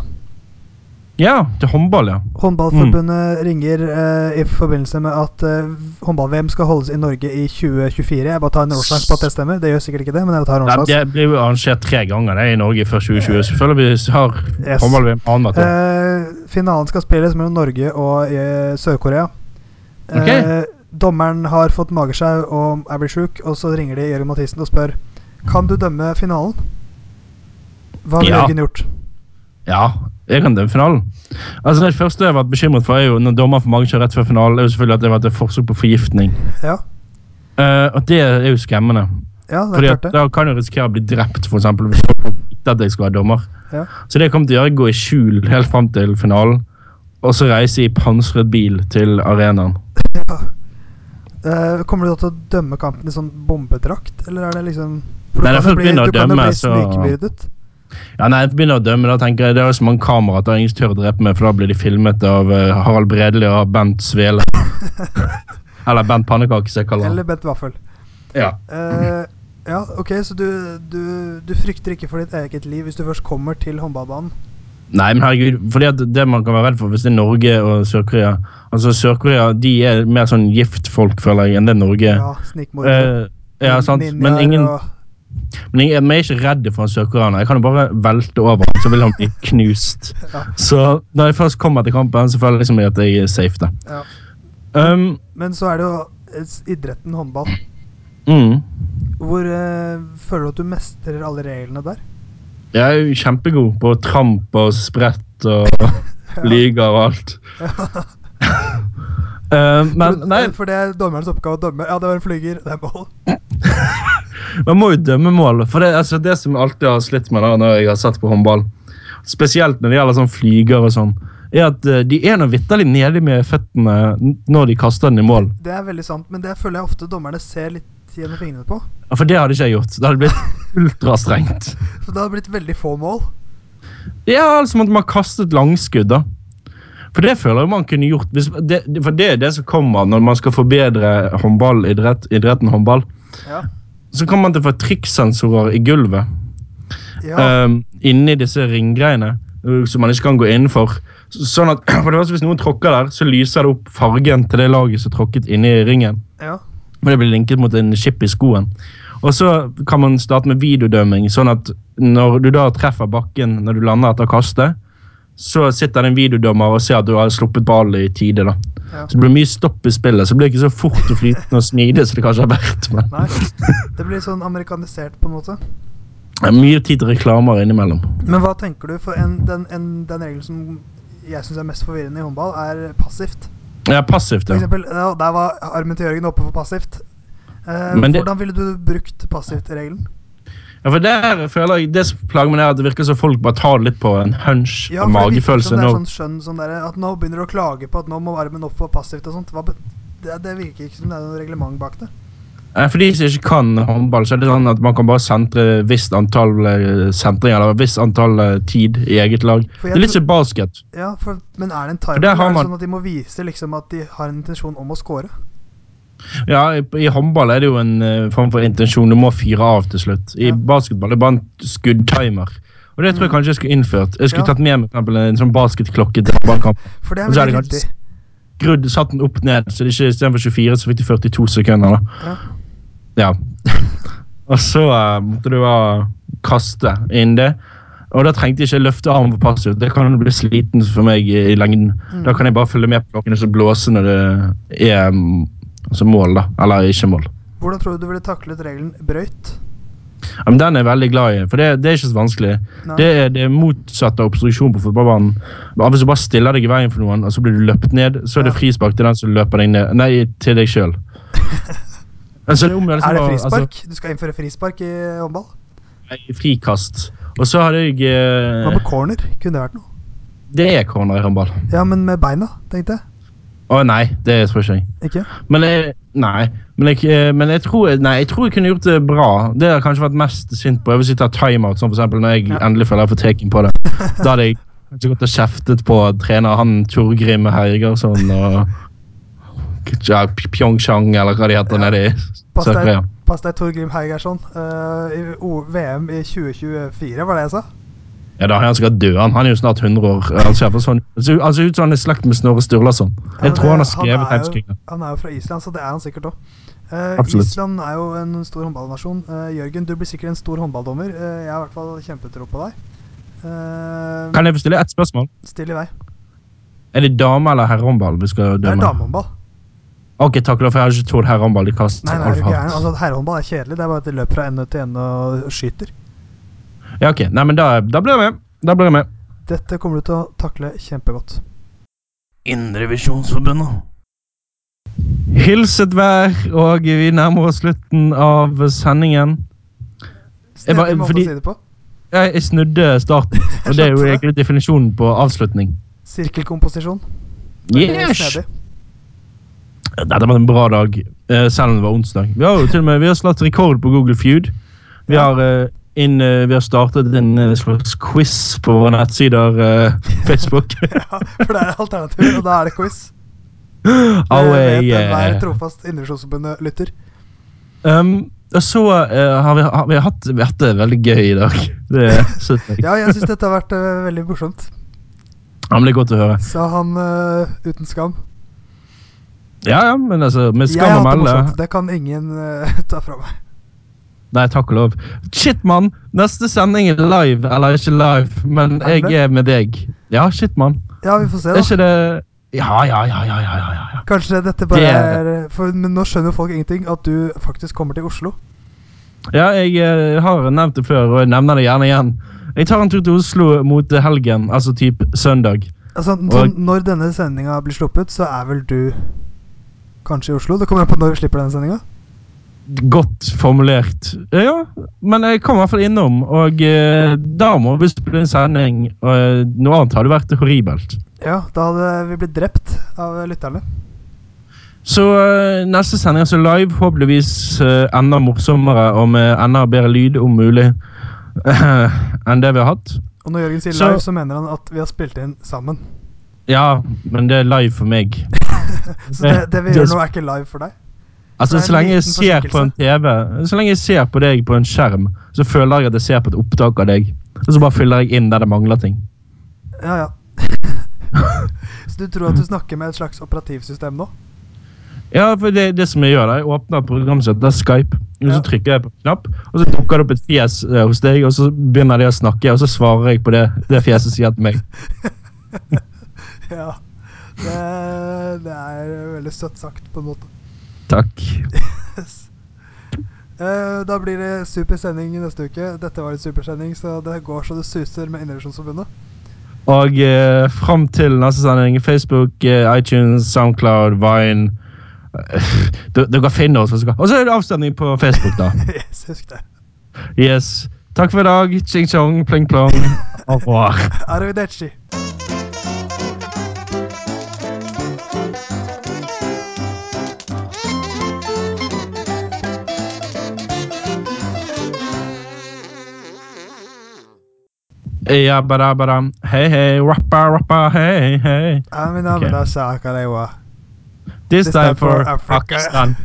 Speaker 2: Ja, til håndball, ja.
Speaker 1: Håndballforbundet ringer eh, i forbindelse med at eh, håndball-VM skal holdes i Norge i 2024. Jeg bare tar en årsdag på at det stemmer. Det gjør sikkert ikke det, men jeg tar en
Speaker 2: Nei,
Speaker 1: årsdag.
Speaker 2: Det blir jo arrangert tre ganger det, i Norge før 2020. Selvfølgelig har
Speaker 1: Eh, Yes.
Speaker 2: håndball-VM annethvert år.
Speaker 1: Eh, finalen skal spilles mellom Norge og eh, Sør-Korea. Eh,
Speaker 2: Ok.
Speaker 1: dommeren har fått magesjau og er blitt sjuk, og så ringer de Jørgen Mathisen og spør Kan du dømme finalen. Hva ville
Speaker 2: Ja.
Speaker 1: Jørgen gjort?
Speaker 2: Ja, jeg kan dømme finalen. Altså, Det første jeg har vært bekymret for, er jo når dommer får magesjau rett før finalen, er jo selvfølgelig at det har vært et forsøk på forgiftning.
Speaker 1: Ja,
Speaker 2: Eh, og det er jo skremmende.
Speaker 1: ja det er
Speaker 2: Fordi
Speaker 1: klart
Speaker 2: at
Speaker 1: det.
Speaker 2: Da kan jeg risikere å bli drept, for eksempel, hvis folk vet at jeg skal være dommer.
Speaker 1: Ja.
Speaker 2: Så det jeg kommer til å gjøre, gå i skjul helt fram til finalen, og så reise i pansret bil til arenaen.
Speaker 1: Eh, kommer du da til å dømme kampen i sånn bombedrakt, eller er det liksom
Speaker 2: Nei, det er først
Speaker 1: bli-
Speaker 2: begynner å
Speaker 1: du kan jo
Speaker 2: dømme,
Speaker 1: bli
Speaker 2: så-
Speaker 1: snikmyrdet.
Speaker 2: Ja, nei, jeg begynner å dømme, da tenker jeg, Det er jo så mange kameraer at da ingen tør å drepe meg, for da blir de filmet av eh, Harald Bredli og Bent Svele. Eller Bent Pannekake, som jeg kaller
Speaker 1: Eller
Speaker 2: han.
Speaker 1: Bent Vaffel.
Speaker 2: Ja.
Speaker 1: Eh, ja, ok, så du, du, du frykter ikke for ditt eget liv hvis du først kommer til håndballbanen?
Speaker 2: Nei, men herregud, fordi at det man kan være redd for hvis det er Norge og Sør-Korea Altså, Sør-Korea de er mer sånn giftfolk, føler jeg, enn det Norge er.
Speaker 1: Ja, snikmordere.
Speaker 2: Eh, ja, sant. Men ingen, men ingen, men jeg er ikke redd for en sørkoreaner. Jeg kan jo bare velte over han, så vil han bli knust.
Speaker 1: Ja.
Speaker 2: Så når jeg først kommer til kampen, så føler jeg liksom at jeg er safe. da.
Speaker 1: Ja.
Speaker 2: Um,
Speaker 1: Men så er det jo s- idretten håndball.
Speaker 2: mm.
Speaker 1: Hvor eh, føler du at du mestrer alle reglene der?
Speaker 2: Jeg er jo kjempegod på tramp og sprett og lyger og alt. Eh, men nei,
Speaker 1: For det er dommerens oppgave å dømme. Ja, det var en flyger. Det er mål.
Speaker 2: man må jo dømme mål. For det, altså, det som jeg alltid har slitt med da, når jeg har sett på håndball, spesielt når det gjelder sånn flyger og sånn, er at eh, de er nå vitterlig nede med føttene n- når de kaster den i mål.
Speaker 1: Det er veldig sant, men det føler jeg ofte dommerne ser litt gjennom fingrene på.
Speaker 2: Ja, For det hadde ikke jeg gjort. Det hadde blitt ultrastrengt.
Speaker 1: Så det har blitt veldig få mål.
Speaker 2: Ja, altså at man kastet langskudd, da. For det føler jeg man kunne gjort. Hvis, det, det- for det er det som kommer når man skal forbedre håndballidrett, idretten håndball.
Speaker 1: Ja.
Speaker 2: Så kommer man til å få trikksensorer i gulvet
Speaker 1: Ja,
Speaker 2: ehm, inni disse ringgreiene eh, som man ikke kan gå innenfor. Så- Sånn at for det første, Hvis noen tråkker der, så lyser det opp fargen til det laget som tråkket inni ringen.
Speaker 1: ja.
Speaker 2: Men det blir linket mot en chip i skoen. Og så kan man starte med videodømming, sånn at når du da treffer bakken når du lander etter kastet, så sitter det en videodømmer og ser at du har sluppet ballen i tide. da.
Speaker 1: Ja.
Speaker 2: Så det blir mye stopp i spillet, så det blir ikke så fort og flytende og smidig som det kanskje har vært. Men
Speaker 1: Nei. Det blir sånn amerikanisert, på en måte.
Speaker 2: det er mye tid til reklamer innimellom.
Speaker 1: Men hva tenker du? For en, den, en, den regelen som jeg syns er mest forvirrende i håndball, er passivt.
Speaker 2: Ja, passivt,
Speaker 1: For
Speaker 2: ja.
Speaker 1: eksempel, ja, der var armen til Jørgen oppe for passivt. Eh,
Speaker 2: Men det-
Speaker 1: hvordan ville du brukt passivt-regelen?
Speaker 2: ja. For der føler jeg, det som plager meg, er at det virker som folk bare tar litt på en hunch og
Speaker 1: for det virker
Speaker 2: magefølelse.
Speaker 1: som det er
Speaker 2: når-
Speaker 1: sånn skjønn sånn der, at nå begynner du å klage på at nå må armen opp for passivt og sånt. Hva, be- det, det virker ikke som det er noe reglement bak det.
Speaker 2: Nei, For de som ikke kan håndball, så er det sånn at man kan bare sentre et visst antall eh, sentringer eller et visst antall eh, tid i eget lag.
Speaker 1: For
Speaker 2: Det
Speaker 1: jeg
Speaker 2: er litt
Speaker 1: tror-
Speaker 2: som basket.
Speaker 1: Ja, for, Men er det en timer?
Speaker 2: der har
Speaker 1: er det
Speaker 2: man-
Speaker 1: sånn at de må vise liksom at de har en intensjon om å score?
Speaker 2: Ja, I, i håndball er det jo en eh, form for intensjon. Du må fyre av til slutt. I
Speaker 1: Ja. Mm.
Speaker 2: basketball er det bare en skuddtimer. Og det tror jeg kanskje jeg skulle innført. Jeg skulle
Speaker 1: Ja.
Speaker 2: tatt med meg for eksempel, en sånn basketklokke til håndballkamp.
Speaker 1: For det er
Speaker 2: Og så er
Speaker 1: veldig
Speaker 2: det
Speaker 1: ryddig.
Speaker 2: kanskje skrudd, satt den opp ned, så det ikke istedenfor 24, så fikk de 42 sekunder. da. Ja. Og så eh, måtte du da kaste inn det. Og da trengte jeg ikke løfte armen på passet. Det kan bli sliten for meg i i lengden. Da kan jeg bare følge med på klokken som blåser når det er mm, altså mål, da. Eller ikke mål.
Speaker 1: Hvordan tror du du ville taklet regelen brøyt?
Speaker 2: Ja, men den er jeg veldig glad i, for det, det er ikke så vanskelig.
Speaker 1: Nei.
Speaker 2: Det er det er motsatt av obstruksjon på fotballbanen. Bare Hvis du bare stiller deg i veien for noen, og så blir du løpt ned, så er det
Speaker 1: Ja.
Speaker 2: frispark til den som løper deg ned. Nei, til deg sjøl. Altså, om jeg liksom
Speaker 1: er det altså-
Speaker 2: var-
Speaker 1: frispark? du skal innføre frispark i eh, håndball?
Speaker 2: Altså, nei, frikast. Og så hadde jeg
Speaker 1: Hva
Speaker 2: eh,
Speaker 1: med corner? Kunne det vært noe?
Speaker 2: Det er corner i håndball.
Speaker 1: Ja, men med beina, tenkte jeg.
Speaker 2: Å nei, det tror jeg ikke.
Speaker 1: Ikke?
Speaker 2: Men jeg, nei, men jeg, eh, men jeg, tror, nei, jeg tror jeg kunne gjort det bra. Det har jeg kanskje vært mest sint på. Jeg vil sitte og timeout, sånn for eksempel, når jeg
Speaker 1: Ja.
Speaker 2: endelig føler jeg får taken på det. Da hadde jeg kanskje gått og kjeftet på trener han Torgrim Hergersson og ja, P- Pyeongchang, eller hva de heter nede i
Speaker 1: Pass deg,
Speaker 2: Sør-Korea.
Speaker 1: pass deg Torgrim Heigersson. Eh, I O- VM i 2024, var det jeg sa?
Speaker 2: Ja, da er han sikkert død. Han, han er jo snart 100 år. Han ser for sånn, han ser- han ser ut som han er i slekt med Snorre Sturlason.
Speaker 1: Ja, men
Speaker 2: Jeg tror han har
Speaker 1: det- han er
Speaker 2: skrevet
Speaker 1: jo-
Speaker 2: heimskringer.
Speaker 1: Han er jo fra Island, så det er han sikkert òg.
Speaker 2: Absolutt.
Speaker 1: Island er jo en stor håndballnasjon. Eh, Jørgen, du blir sikkert en stor håndballdommer. Eh, jeg har i hvert fall kjempetro på deg. Eh,
Speaker 2: Kan jeg få stille ett spørsmål?
Speaker 1: Still i vei.
Speaker 2: Er det dame- eller herrehåndball vi skal
Speaker 1: Det er
Speaker 2: dømme?
Speaker 1: damehåndball.
Speaker 2: Ok, takk, for jeg har ikke trodd herrehåndball i kast.
Speaker 1: Nei, nei, er
Speaker 2: alt
Speaker 1: du
Speaker 2: for
Speaker 1: gæren?
Speaker 2: hardt.
Speaker 1: Altså, herrehåndball er kjedelig. Det er bare at de løper fra ende til ende og skyter.
Speaker 2: Ja, ok. Nei, men da, da blir jeg med. Da blir jeg med.
Speaker 1: Dette kommer du til å takle kjempegodt.
Speaker 3: Indrevisjonsforbundet.
Speaker 2: Hilset vær, og vi nærmer oss slutten av sendingen. Jeg bare-
Speaker 1: Snedig måte
Speaker 2: fordi-
Speaker 1: å si det på.
Speaker 2: Jeg, jeg snudde starten, og det er jo egentlig definisjonen på avslutning.
Speaker 1: Sirkelkomposisjon.
Speaker 2: Yes!
Speaker 1: Snedig.
Speaker 2: Dette var en bra dag, eh, selv om det var onsdag. Vi har jo til og med vi har slått rekord på Google Feud. Vi har, eh, inn, eh, vi har startet en eh, slags quiz på våre nettsider, eh, Facebook.
Speaker 1: Ja, for det er alternativet, og da er det quiz.
Speaker 2: Our,
Speaker 1: det vet
Speaker 2: eh,
Speaker 1: enhver trofast Indremisjonsforbundet-lytter.
Speaker 2: Um, og så eh, har vi, har, vi, har hatt, vi har hatt det veldig gøy i dag. Det synes jeg.
Speaker 1: Ja, jeg syns dette har vært eh, veldig morsomt,
Speaker 2: Ja, men det er godt å høre.
Speaker 1: sa han eh, uten skam.
Speaker 2: Ja, ja, men altså, vi
Speaker 1: jeg
Speaker 2: skal
Speaker 1: har
Speaker 2: man
Speaker 1: hatt det
Speaker 2: melde.
Speaker 1: morsomt. Det kan ingen eh, ta fra meg.
Speaker 2: Nei, takk og lov. Shit, mann! Neste sending er live, eller ikke live, men
Speaker 1: Er det
Speaker 2: jeg er med deg. Ja, shit, mann.
Speaker 1: Ja, vi får se,
Speaker 2: Er
Speaker 1: da.
Speaker 2: ikke det Ja, ja, ja, ja, ja, ja, ja.
Speaker 1: Kanskje dette bare
Speaker 2: Det er-
Speaker 1: er eh, For men nå skjønner jo folk ingenting at du faktisk kommer til Oslo.
Speaker 2: Ja, jeg eh, har nevnt det før, og jeg nevner det gjerne igjen. Jeg tar en tur til Oslo mot helgen, altså typ søndag.
Speaker 1: Altså, n-
Speaker 2: Og-
Speaker 1: sånn, Når denne sendinga blir sluppet, så er vel du kanskje i Oslo? Det kommer an på når vi slipper denne sendinga.
Speaker 2: Godt formulert. Ja, men jeg kom i hvert fall innom, og eh, da må vi spille en sending. Og eh, noe annet hadde vært horribelt.
Speaker 1: Ja, da hadde vi blitt drept av lytterne.
Speaker 2: Så eh, neste sending er så live, håpeligvis eh, enda morsommere og med enda bedre lyd, om mulig, enn det vi har hatt.
Speaker 1: Og når Jørgen sier
Speaker 2: Så-
Speaker 1: live, så mener han at vi har spilt inn sammen.
Speaker 2: Ja, men det er live for meg.
Speaker 1: Så det, det vi
Speaker 2: Det-
Speaker 1: gjør nå, er ikke live for deg.
Speaker 2: Altså,
Speaker 1: Det er
Speaker 2: så
Speaker 1: en
Speaker 2: lenge jeg
Speaker 1: liten
Speaker 2: ser på en TV, så lenge jeg ser på deg på en skjerm, så føler jeg at jeg ser på et opptak av deg. Og så bare fyller jeg inn der det mangler ting.
Speaker 1: Ja, ja. så du tror at du snakker med et slags operativsystem nå?
Speaker 2: Ja, for det, det som jeg gjør da, jeg åpner programmet som heter Skype, og så
Speaker 1: Ja.
Speaker 2: trykker jeg på en knapp, og så dukker det opp et fjes eh, hos deg, og så begynner de å snakke, og så svarer jeg på det, det fjeset sier til meg.
Speaker 1: Ja. Det, det er veldig søtt sagt, på en måte.
Speaker 2: Takk.
Speaker 1: Eh, da blir det supersending neste uke. Dette var en supersending, så det går så det suser med Indrevisjonsforbundet.
Speaker 2: Og eh, fram til neste sending, Facebook, eh, iTunes, Soundcloud, Vine, eh, d- dere finner oss. hvis dere- Og så er det avstemning på Facebook da.
Speaker 1: yes, husk det.
Speaker 2: Yes. Takk for i dag. Ching chong, pling plong. Au revoir.
Speaker 1: Arrivederci.
Speaker 2: Ja, bada, bada. Hei, hei, rappa, rappa, hei, hei.
Speaker 1: Amina
Speaker 2: Ok.
Speaker 1: mina shakarewa.
Speaker 2: This time for Pakistan.